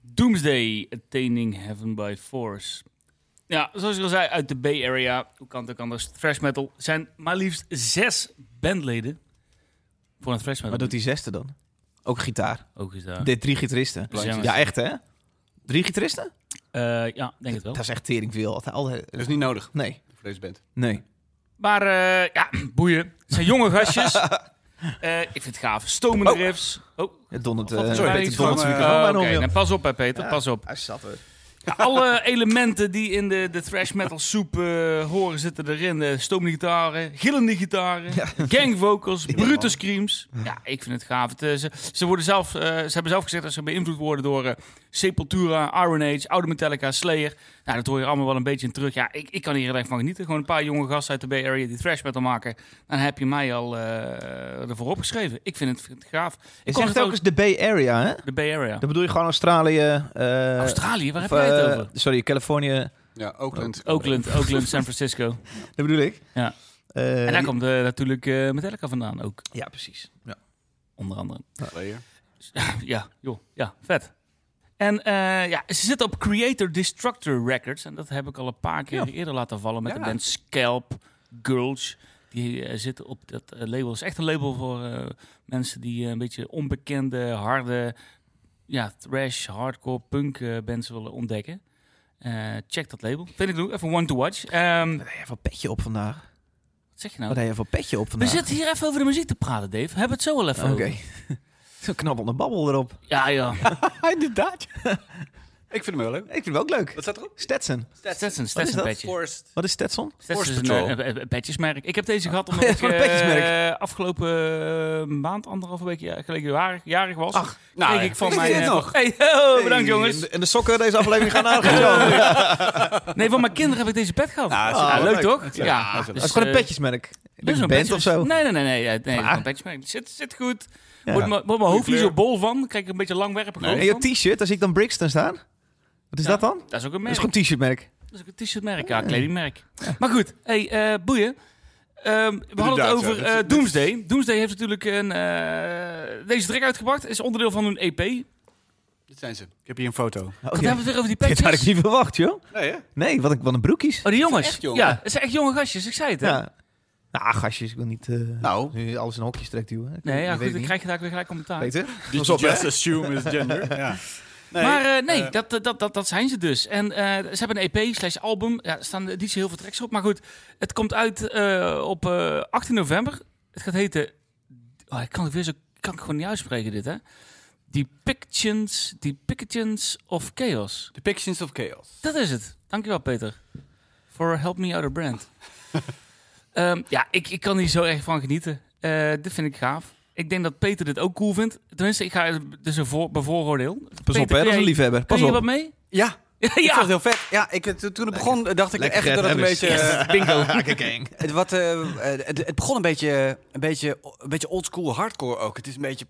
[SPEAKER 4] Doomsday, Attaining Heaven by Force. Ja, zoals ik al zei, uit de Bay Area, hoe kan het ook anders, thrash metal, zijn maar liefst zes bandleden voor een thrash metal.
[SPEAKER 2] Wat doet die zesde dan? Ook gitaar.
[SPEAKER 4] Ook is daar.
[SPEAKER 2] Dit drie gitaristen.
[SPEAKER 4] Bladzangers.
[SPEAKER 2] Ja, echt hè? Drie gitaristen?
[SPEAKER 4] Eh, ja, denk het wel.
[SPEAKER 2] Dat is echt tering veel. Altijd- altijd- eh,
[SPEAKER 1] Dat is niet nodig
[SPEAKER 2] Nee,
[SPEAKER 1] voor deze band.
[SPEAKER 2] nee.
[SPEAKER 4] Maar eh, ja, boeien. Het zijn jonge gastjes. Eh, ik vind het gaaf. Stomende
[SPEAKER 2] Oh.
[SPEAKER 4] riffs. Oh,
[SPEAKER 2] Het dondert...
[SPEAKER 4] wat
[SPEAKER 2] eh,
[SPEAKER 4] is
[SPEAKER 1] sorry,
[SPEAKER 4] er
[SPEAKER 2] het
[SPEAKER 4] nou
[SPEAKER 1] Peter,
[SPEAKER 4] iets
[SPEAKER 2] dondert
[SPEAKER 1] van,
[SPEAKER 2] zijn
[SPEAKER 1] eh,
[SPEAKER 2] microfoon
[SPEAKER 4] Oh,
[SPEAKER 2] bijna
[SPEAKER 4] Oké,
[SPEAKER 2] om, joh.
[SPEAKER 4] nou, pas op hè Peter,
[SPEAKER 2] Ja.
[SPEAKER 4] pas op.
[SPEAKER 2] Hij zat er.
[SPEAKER 4] Ja, alle elementen die in de, de thrash metal soep eh, horen zitten erin. Eh, stomende gitaren, gillende gitaren, gang vocals, brute screams. Ja, ik vind het gaaf. Het, eh, ze, ze, worden zelf, eh, ze hebben zelf gezegd dat ze beïnvloed worden door eh, Sepultura, Iron Age, oude Metallica, Slayer. Nou, dat hoor je allemaal wel een beetje in terug. Ja, ik, ik kan hier heel erg van genieten. Gewoon een paar jonge gasten uit de Bay Area die thrash metal maken. Dan heb je mij al eh, ervoor opgeschreven. Ik vind het, vind het gaaf.
[SPEAKER 2] Je
[SPEAKER 4] Ik kom
[SPEAKER 2] zegt ook eens de Bay Area, hè?
[SPEAKER 4] de Bay Area.
[SPEAKER 2] Dan bedoel je gewoon Australië. eh,
[SPEAKER 4] Australië, waar heb
[SPEAKER 2] of,
[SPEAKER 4] jij het
[SPEAKER 2] eh,
[SPEAKER 4] over?
[SPEAKER 2] Sorry, Californië.
[SPEAKER 1] Ja, Oakland.
[SPEAKER 4] Oakland, Oakland, San Francisco.
[SPEAKER 2] Dat bedoel ik.
[SPEAKER 4] Ja.
[SPEAKER 2] Eh,
[SPEAKER 4] En daar komt eh, natuurlijk eh, Metallica vandaan ook,
[SPEAKER 2] Ja, precies. Ja.
[SPEAKER 4] onder andere.
[SPEAKER 1] Slayer.
[SPEAKER 4] ja, joh, ja, vet. En eh, ja, ze zitten op Creator Destructor Records. En dat heb ik al een paar keer eerder laten vallen met
[SPEAKER 1] Ja.
[SPEAKER 4] de band Scalp, Gulch. Die eh, zitten op dat eh, label. Dat is echt een label voor eh, mensen die eh, een beetje onbekende, harde, ja, thrash, hardcore, punk eh, bands willen ontdekken. Eh, check dat label. Vind ik ook even one to watch. Ehm,
[SPEAKER 2] Wat heb jij voor petje op vandaag?
[SPEAKER 4] wat zeg je
[SPEAKER 2] Wat
[SPEAKER 4] nou?
[SPEAKER 2] heb jij voor petje op
[SPEAKER 4] We
[SPEAKER 2] vandaag?
[SPEAKER 4] zitten hier even over de muziek te praten, Dave. Hebben we het zo wel even
[SPEAKER 2] Oké.
[SPEAKER 4] over.
[SPEAKER 2] Oh. Zo'n knabbelde babbel erop.
[SPEAKER 4] Ja, ja.
[SPEAKER 2] Inderdaad.
[SPEAKER 1] Ik vind hem wel leuk.
[SPEAKER 2] Ik vind het ook leuk.
[SPEAKER 1] Wat staat erop?
[SPEAKER 2] Stetson.
[SPEAKER 4] Stetson,
[SPEAKER 2] Wat is
[SPEAKER 4] Stetson
[SPEAKER 2] dat?
[SPEAKER 4] petje.
[SPEAKER 1] Forest.
[SPEAKER 2] Wat is Stetson?
[SPEAKER 4] Dat is
[SPEAKER 1] Force
[SPEAKER 4] een,
[SPEAKER 1] Patrol.
[SPEAKER 4] eh, eh, eh, petjesmerk. Ik heb deze gehad omdat
[SPEAKER 2] ja,
[SPEAKER 4] ik
[SPEAKER 2] voor een
[SPEAKER 4] eh,
[SPEAKER 2] petjesmerk.
[SPEAKER 4] afgelopen eh, maand, anderhalve week ja, geleden jarig, jarig was. Ach,
[SPEAKER 1] nou,
[SPEAKER 4] kreeg ik van
[SPEAKER 1] ik
[SPEAKER 4] mijn...
[SPEAKER 1] zie het
[SPEAKER 4] eh,
[SPEAKER 1] nog.
[SPEAKER 4] Hey, ho, bedankt
[SPEAKER 2] En
[SPEAKER 4] jongens.
[SPEAKER 2] de, en de sokken deze aflevering gaan aan. Dat
[SPEAKER 4] Nee, van mijn kinderen heb ik deze pet gehad.
[SPEAKER 1] Ah, dat is
[SPEAKER 4] Ah,
[SPEAKER 1] wel
[SPEAKER 4] leuk,
[SPEAKER 1] leuk.
[SPEAKER 4] toch?
[SPEAKER 1] Ja, dat is wel
[SPEAKER 2] is
[SPEAKER 4] dus,
[SPEAKER 2] gewoon een
[SPEAKER 4] eh,
[SPEAKER 2] petjesmerk.
[SPEAKER 4] dit is
[SPEAKER 2] Een
[SPEAKER 4] een
[SPEAKER 2] band
[SPEAKER 4] petjes-
[SPEAKER 2] of zo.
[SPEAKER 4] Nee, nee, nee. nee, ja, nee
[SPEAKER 2] Maar-
[SPEAKER 4] gewoon een petjesmerk. Zit, zit goed.
[SPEAKER 2] Ja.
[SPEAKER 4] Wordt mijn- wordt mijn hoofd niet
[SPEAKER 1] kleur.
[SPEAKER 4] zo bol van. Dan krijg ik een beetje langwerpig
[SPEAKER 1] Nee.
[SPEAKER 4] hoofd
[SPEAKER 2] En je
[SPEAKER 4] van.
[SPEAKER 2] t-shirt, daar zie ik dan Brixton staan. Wat is
[SPEAKER 4] Ja,
[SPEAKER 2] dat dan?
[SPEAKER 4] Dat is ook
[SPEAKER 2] Dat
[SPEAKER 4] een
[SPEAKER 2] is
[SPEAKER 4] merk.
[SPEAKER 2] gewoon een t-shirtmerk.
[SPEAKER 4] Dat is ook een t-shirtmerk, ja, kledingmerk. Maar goed, hey, eh, boeien. Ehm, we hadden het
[SPEAKER 1] Inderdaad,
[SPEAKER 4] over
[SPEAKER 1] ja.
[SPEAKER 4] eh,
[SPEAKER 1] Het-
[SPEAKER 4] Doomsday. Doomsday heeft natuurlijk een, eh, deze track uitgebracht. Is onderdeel van hun E EP. Want
[SPEAKER 1] Dit zijn ze. Ik heb hier een foto.
[SPEAKER 2] Oh,
[SPEAKER 4] We
[SPEAKER 2] ja.
[SPEAKER 4] hebben het weer over die
[SPEAKER 2] Dit had ik
[SPEAKER 4] petjes.
[SPEAKER 2] niet verwacht, joh.
[SPEAKER 1] Nee, hè?
[SPEAKER 2] Nee, wat, een- wat een broekies.
[SPEAKER 4] Oh, die jongens.
[SPEAKER 1] echt jong,
[SPEAKER 4] ja,
[SPEAKER 1] hè?
[SPEAKER 4] het zijn echt jonge gastjes. Ik zei het, hè?
[SPEAKER 2] Ja. Nou, gastjes, ik wil niet eh,
[SPEAKER 1] Nou.
[SPEAKER 2] nu alles in hokjes trekt duwen. Ik-
[SPEAKER 4] Nee,
[SPEAKER 2] ik
[SPEAKER 4] ja,
[SPEAKER 2] weet
[SPEAKER 4] goed,
[SPEAKER 2] het
[SPEAKER 4] dan
[SPEAKER 2] niet.
[SPEAKER 4] krijg je daar weer gelijk commentaar.
[SPEAKER 2] Peter?
[SPEAKER 1] Did
[SPEAKER 2] Pas
[SPEAKER 1] you
[SPEAKER 2] op, hè?
[SPEAKER 1] just assume is gender? ja. Nee.
[SPEAKER 4] maar eh, nee,
[SPEAKER 1] eh,
[SPEAKER 4] dat, eh, dat, dat, dat zijn ze dus. En eh, ze hebben een EP slash album. Ja, er staan niet zo heel veel tracks op. Maar goed, het komt uit eh, op eh, 18 november. Het gaat heten... Oh, ik kan het weer zo... Kan ik gewoon niet uitspreken dit, hè? Depictions, Depictions of Chaos.
[SPEAKER 1] Depictions of Chaos.
[SPEAKER 4] Dat is het. Dankjewel, Peter. Voor Help Me Out of Brand. Ehm, ja, ik, ik kan hier zo erg van genieten. Eh, dit vind ik gaaf. Ik denk dat Peter dit ook cool vindt. Tenminste, ik ga het dus een voor, bevooroordeel.
[SPEAKER 2] Pas op, hè, dat is een liefhebber.
[SPEAKER 4] Kun
[SPEAKER 2] Pas
[SPEAKER 4] je hier
[SPEAKER 2] op.
[SPEAKER 4] wat mee?
[SPEAKER 1] Ja, ik vond
[SPEAKER 4] ja,
[SPEAKER 1] het heel vet. Ja, ik, toen het begon eh, dacht ik
[SPEAKER 2] Lekker
[SPEAKER 1] echt dat het een
[SPEAKER 2] Gert
[SPEAKER 1] beetje... eh,
[SPEAKER 4] bingo.
[SPEAKER 1] Het, wat, eh, eh, het, het begon een beetje, een beetje, een beetje oldschool hardcore ook. Het is een beetje...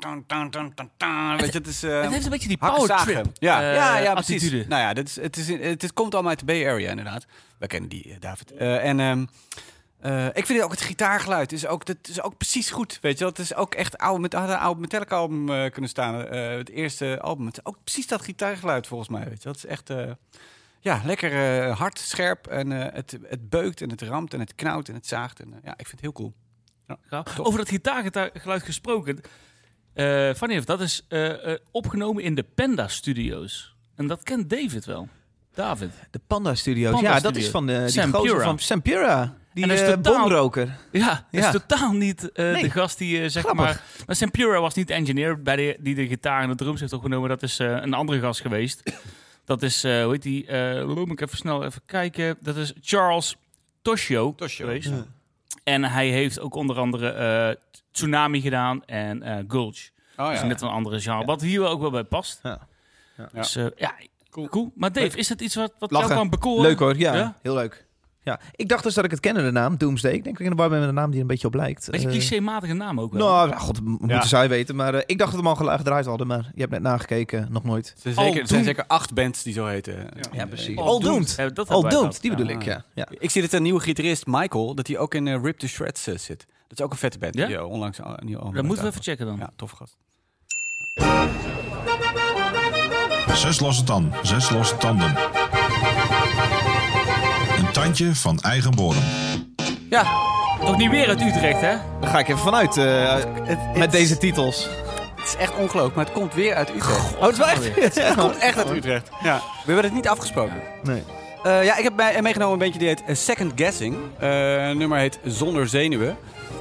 [SPEAKER 1] Weet je, het is... eh,
[SPEAKER 4] het heeft een beetje die
[SPEAKER 1] hakken
[SPEAKER 4] power
[SPEAKER 1] zagen.
[SPEAKER 4] trip
[SPEAKER 1] Ja,
[SPEAKER 4] eh,
[SPEAKER 1] ja, ja, precies.
[SPEAKER 4] attitude.
[SPEAKER 1] Nou ja, dit is, het, is, in- het, is- komt allemaal uit de Bay Area inderdaad. We kennen die, eh, David. Eh, en ehm, eh, ik vind ook het gitaargeluid is ook, dat is ook precies goed. Weet je, wel. het is ook echt oude, met, had een oude Metallica album eh, kunnen staan. eh, het eerste album. Het is ook precies dat gitaargeluid volgens mij. Weet je, wel. dat is echt. eh, ja, lekker eh, hard, scherp en eh, het, het beukt en het ramt en het knauwt en het zaagt. En, eh, ja, ik vind het heel cool.
[SPEAKER 4] Ja. Over dat gitaargeluid gesproken. Eh Fanny heeft dat is eh, eh, opgenomen in de Panda Studios. En dat kent David wel. David.
[SPEAKER 2] De Panda Studios.
[SPEAKER 4] Panda
[SPEAKER 2] ja, dat
[SPEAKER 4] Studio.
[SPEAKER 2] is van eh, die
[SPEAKER 4] Sam
[SPEAKER 2] gozer
[SPEAKER 4] Pura.
[SPEAKER 2] van Sam Pura. Die
[SPEAKER 4] En dat is
[SPEAKER 2] eh,
[SPEAKER 4] totaal-
[SPEAKER 2] bomroker.
[SPEAKER 4] Ja, dat
[SPEAKER 2] Ja.
[SPEAKER 4] is totaal niet eh,
[SPEAKER 2] Nee.
[SPEAKER 4] de gast die eh, zeg
[SPEAKER 2] Grappig.
[SPEAKER 4] maar... Maar Sam Pura was niet de engineer bij de, die de gitaar en de drums heeft opgenomen. Dat is eh, een andere gast geweest. Dat is, eh hoe heet die? eh moet ik even snel even kijken. Dat is Charles Toshio
[SPEAKER 1] Toshio.
[SPEAKER 4] geweest. En hij heeft ook onder andere eh, Tsunami gedaan en eh Gulch.
[SPEAKER 1] Oh,
[SPEAKER 4] Dus net een andere genre. Wat hier ook wel bij past.
[SPEAKER 2] Ja.
[SPEAKER 1] Ja.
[SPEAKER 4] Dus eh, ja,
[SPEAKER 1] Cool.
[SPEAKER 4] cool. Maar Dave, is dat iets wat, wat jou
[SPEAKER 2] Lachen.
[SPEAKER 4] kan bekoren?
[SPEAKER 2] Leuk hoor, ja.
[SPEAKER 4] Ja?
[SPEAKER 2] Heel leuk. Ja. Ik dacht dus dat ik het kende, de naam Doomsday. Ik denk dat ik in de war ben met een naam die er een beetje op lijkt.
[SPEAKER 4] Beetje
[SPEAKER 2] Eh,
[SPEAKER 4] clichématige naam ook wel.
[SPEAKER 2] Nou, ja, god, m- moeten zij weten. Maar eh, ik dacht dat we hem al gela- gedraaid hadden, maar je hebt net nagekeken. Nog nooit.
[SPEAKER 1] Er zijn
[SPEAKER 4] Al
[SPEAKER 1] zeker, er zijn
[SPEAKER 4] Doom.
[SPEAKER 1] zeker acht bands die zo heten.
[SPEAKER 2] Ja, precies.
[SPEAKER 4] All
[SPEAKER 2] All
[SPEAKER 4] Doomed.
[SPEAKER 2] Doomed.
[SPEAKER 4] Ja, dat
[SPEAKER 2] All
[SPEAKER 1] Oh,
[SPEAKER 4] hebben wij
[SPEAKER 2] Doomed,
[SPEAKER 4] gehad.
[SPEAKER 2] die bedoel
[SPEAKER 1] Ja.
[SPEAKER 2] ik, ja. ja.
[SPEAKER 1] Ik zie dat een nieuwe gitarist, Michael, dat hij ook in eh, Rip to Shreds eh, zit. Dat is ook een vette band.
[SPEAKER 4] Ja?
[SPEAKER 1] Die eh, onlangs al- een nieuwe album
[SPEAKER 4] Dat moeten we
[SPEAKER 1] uit
[SPEAKER 4] even checken dan.
[SPEAKER 1] had. Ja, tof gast.
[SPEAKER 5] Zes losse tanden. Zes losse tanden. Een tandje van eigen bodem.
[SPEAKER 1] Ja,
[SPEAKER 4] Toch niet weer uit Utrecht, hè?
[SPEAKER 2] Daar ga ik even vanuit eh, met deze titels.
[SPEAKER 1] het is echt ongelooflijk, maar het komt weer uit Utrecht.
[SPEAKER 2] Oh, het is wel echt...
[SPEAKER 1] Het komt echt uit Utrecht. Ja. We hebben het niet afgesproken.
[SPEAKER 2] Nee.
[SPEAKER 1] Eh, ja, ik heb bij- meegenomen een beetje die heet eh, Second Guessing. Eh, een nummer heet Zonder Zenuwen.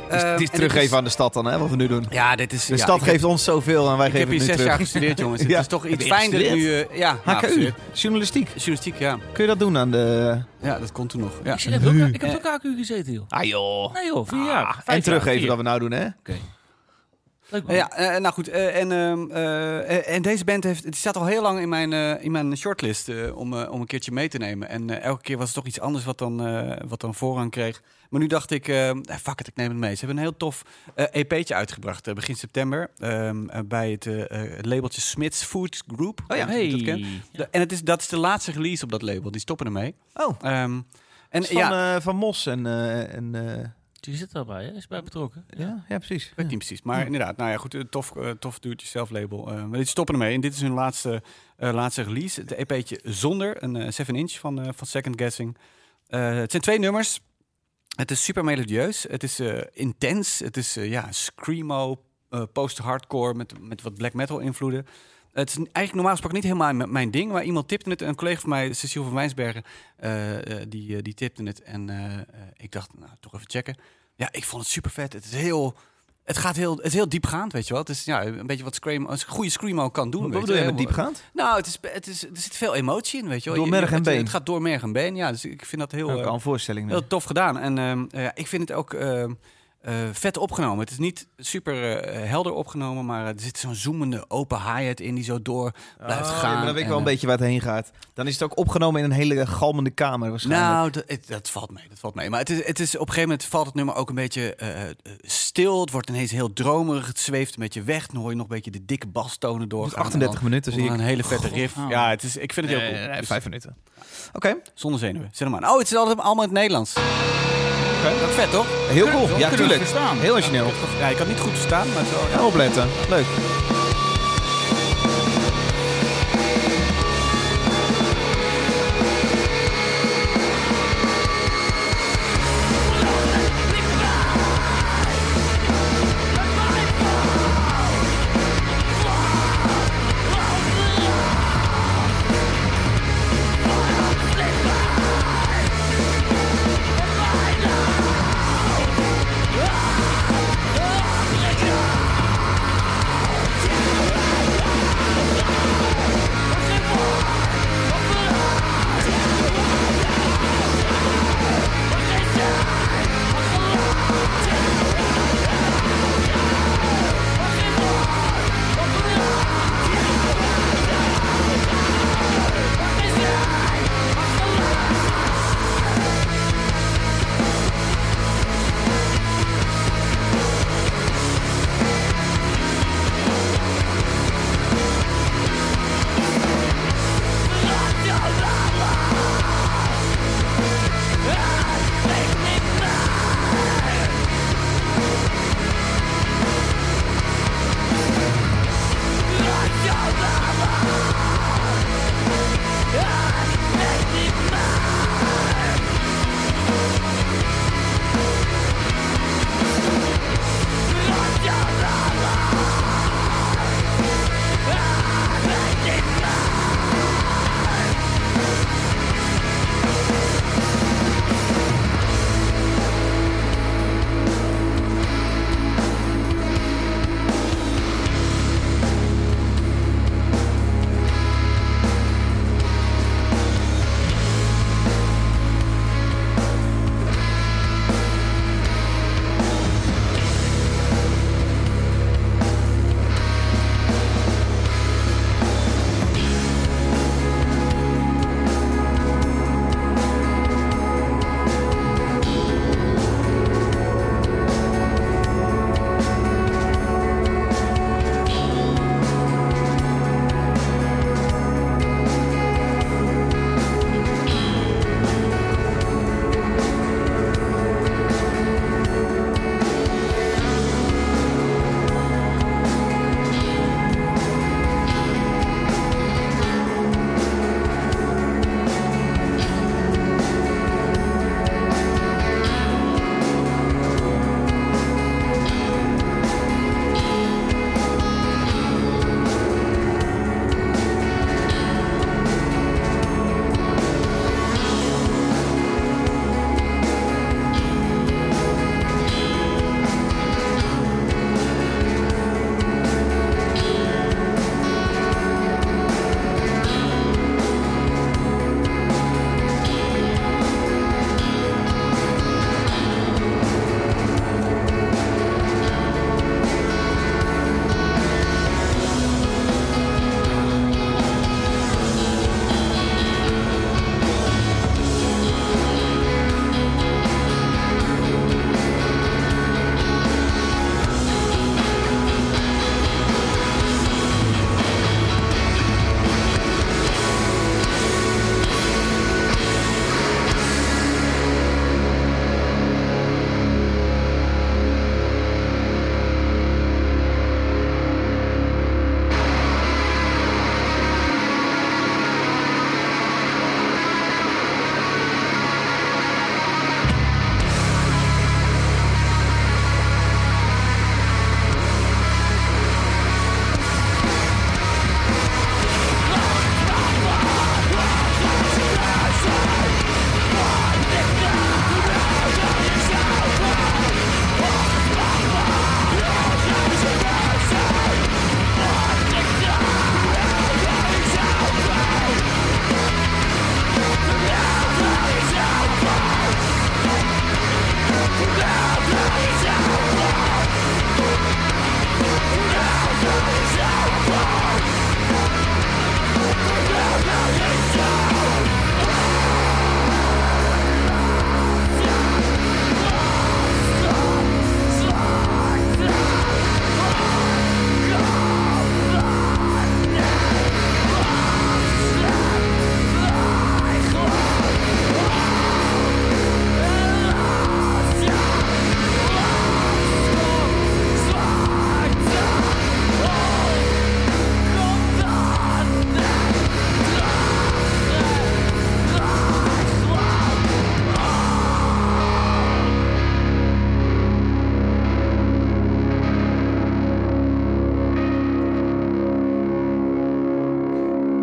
[SPEAKER 2] Dus
[SPEAKER 1] Eh,
[SPEAKER 2] het is
[SPEAKER 1] en
[SPEAKER 2] teruggeven aan de stad dan, hè, wat we nu doen.
[SPEAKER 1] Ja, dit is...
[SPEAKER 2] De
[SPEAKER 1] ja,
[SPEAKER 2] stad
[SPEAKER 1] ik heb-
[SPEAKER 2] geeft ons zoveel en wij
[SPEAKER 1] Ik heb
[SPEAKER 2] geven
[SPEAKER 1] hier
[SPEAKER 2] het nu
[SPEAKER 1] zes
[SPEAKER 2] terug.
[SPEAKER 1] jaar gestudeerd, jongens. Het
[SPEAKER 2] Ja.
[SPEAKER 1] is toch
[SPEAKER 2] Heb
[SPEAKER 1] iets
[SPEAKER 2] je
[SPEAKER 1] fijner nu... eh, ja, nou,
[SPEAKER 2] HKU,
[SPEAKER 1] gestudeerd.
[SPEAKER 2] journalistiek.
[SPEAKER 1] Journalistiek, ja.
[SPEAKER 2] Kun je dat doen aan de...
[SPEAKER 1] Ja, dat kon toen nog. Ja.
[SPEAKER 4] Ik, heb ook, ik heb ook AQ gezeten, joh.
[SPEAKER 2] Ah joh.
[SPEAKER 4] Nee joh, vier jaar. Vijf
[SPEAKER 2] en
[SPEAKER 4] jaar,
[SPEAKER 2] teruggeven
[SPEAKER 4] vier.
[SPEAKER 2] dat we nou doen, hè?
[SPEAKER 4] Leuk man.
[SPEAKER 1] Ja, eh, nou goed. eh, en, ehm, eh, eh, en deze band heeft, het staat al heel lang in mijn, eh, in mijn shortlist eh, om, eh, om een keertje mee te nemen. En eh, elke keer was het toch iets anders wat dan, eh, wat dan voorrang kreeg. Maar nu dacht ik, eh, eh, fuck it, ik neem het mee. Ze hebben een heel tof eh, EP'tje uitgebracht eh, begin september. ehm, eh, bij het eh, eh, het labeltje Smith's Food Group.
[SPEAKER 2] Oh ja,
[SPEAKER 1] Ik weet niet of je dat kent.
[SPEAKER 4] Hey.
[SPEAKER 1] De- en het is, dat is de laatste release op dat label. Die stoppen ermee.
[SPEAKER 2] Oh,
[SPEAKER 1] Ehm, en
[SPEAKER 2] en, van,
[SPEAKER 1] ja,
[SPEAKER 2] eh, van Mos en... eh, en eh,
[SPEAKER 4] Die zit daarbij, hè? is bij betrokken.
[SPEAKER 2] ja, ja, precies.
[SPEAKER 1] Ik weet niet precies. Maar inderdaad, nou ja, goed, eh, tof, eh, tof doe het jezelf label. Eh, maar dit stoppen ermee. En dit is hun laatste, eh, laatste release. Het EP'tje Zonder, een 7-inch van, eh, van Second Guessing. Eh, het zijn twee nummers. Het is super melodieus. Het is eh, intens. Het is eh, ja, screamo, eh, post-hardcore met, met wat black metal invloeden. Het is eigenlijk normaal gesproken niet helemaal mijn- mijn ding. Maar iemand tipte het. Een collega van mij, Cecile van Wijnsbergen, eh, eh, die, eh, die tipte het. En eh, eh, ik dacht, nou, toch even checken. Ja, ik vond het super vet. Het is heel... Het gaat heel, het is heel diepgaand, weet je wel. Het is ja, een beetje wat scream, een goede screamo kan doen.
[SPEAKER 2] Wat
[SPEAKER 1] weet
[SPEAKER 2] bedoel je
[SPEAKER 1] je
[SPEAKER 2] met
[SPEAKER 1] wel.
[SPEAKER 2] diepgaand?
[SPEAKER 1] Nou, het is, het is, er zit veel emotie in, weet je wel.
[SPEAKER 2] Door
[SPEAKER 1] Je-
[SPEAKER 2] merg en
[SPEAKER 1] het-
[SPEAKER 2] been.
[SPEAKER 1] Het gaat door merg en been, ja. Dus ik vind dat heel...
[SPEAKER 2] Ook
[SPEAKER 1] eh,
[SPEAKER 2] al een voorstelling.
[SPEAKER 1] Heel tof gedaan. En ehm, eh, ja, ik vind het ook ehm, eh, vet opgenomen. Het is niet super eh, helder opgenomen, maar er zit zo'n zoemende open hi-hat in die zo door blijft
[SPEAKER 2] Oh,
[SPEAKER 1] gaan.
[SPEAKER 2] Maar dan weet ik wel
[SPEAKER 1] En,
[SPEAKER 2] een
[SPEAKER 1] eh,
[SPEAKER 2] beetje waar het heen gaat. Dan is het ook opgenomen in een hele galmende kamer waarschijnlijk.
[SPEAKER 1] Nou, dat, het- dat valt mee, dat valt mee. Maar het is, het is, op een gegeven moment valt het nummer ook een beetje eh, eh, stil. Het wordt ineens heel dromerig. Het zweeft een beetje weg. Dan hoor je nog een beetje de dikke bastonen door.
[SPEAKER 2] Het is 38 minuten, zie ik.
[SPEAKER 1] Een hele vette riff.
[SPEAKER 4] oh.
[SPEAKER 1] Ja, het is, ik vind het heel cool. Dus
[SPEAKER 2] vijf minuten. Oké,
[SPEAKER 1] Zonder zenuwen. Zet hem aan. Oh, het is altijd allemaal in het Nederlands. Dat is vet, toch?
[SPEAKER 2] heel cool. Ja,
[SPEAKER 4] kunnen we
[SPEAKER 2] tuurlijk.
[SPEAKER 4] verstaan.
[SPEAKER 2] Heel origineel.
[SPEAKER 1] Ja, ik kan het niet goed verstaan, maar zo.
[SPEAKER 2] Ja, opletten. Leuk.
[SPEAKER 7] Down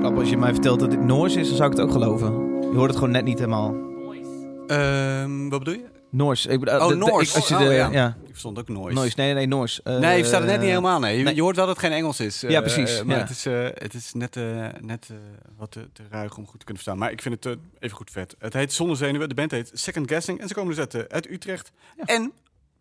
[SPEAKER 2] Kap, als je mij vertelt dat dit Noors is, dan zou ik het ook geloven. Je hoort het gewoon net niet helemaal.
[SPEAKER 1] Ehm, wat bedoel je?
[SPEAKER 2] Noors. Ik, bedoel-
[SPEAKER 1] Oh,
[SPEAKER 2] de- de-
[SPEAKER 1] Noors.
[SPEAKER 2] ik- als je
[SPEAKER 1] Oh,
[SPEAKER 2] de-
[SPEAKER 1] ja.
[SPEAKER 2] ja.
[SPEAKER 1] Ik verstond ook nooit.
[SPEAKER 2] Noors. Nee, nee, Noors. Eh,
[SPEAKER 1] Nee, je verstaat het net niet helemaal. Nee. Je,
[SPEAKER 2] nee.
[SPEAKER 1] je hoort wel dat het geen Engels is. eh,
[SPEAKER 2] Ja, precies,
[SPEAKER 1] eh, maar
[SPEAKER 2] ja.
[SPEAKER 1] Het, is, eh, het is net, eh, net eh, wat te, te ruig om goed te kunnen verstaan. Maar ik vind het eh, even goed vet. Het heet Zonder Zenuwen. De band heet Second Guessing. En ze komen dus uit, eh, uit Utrecht. En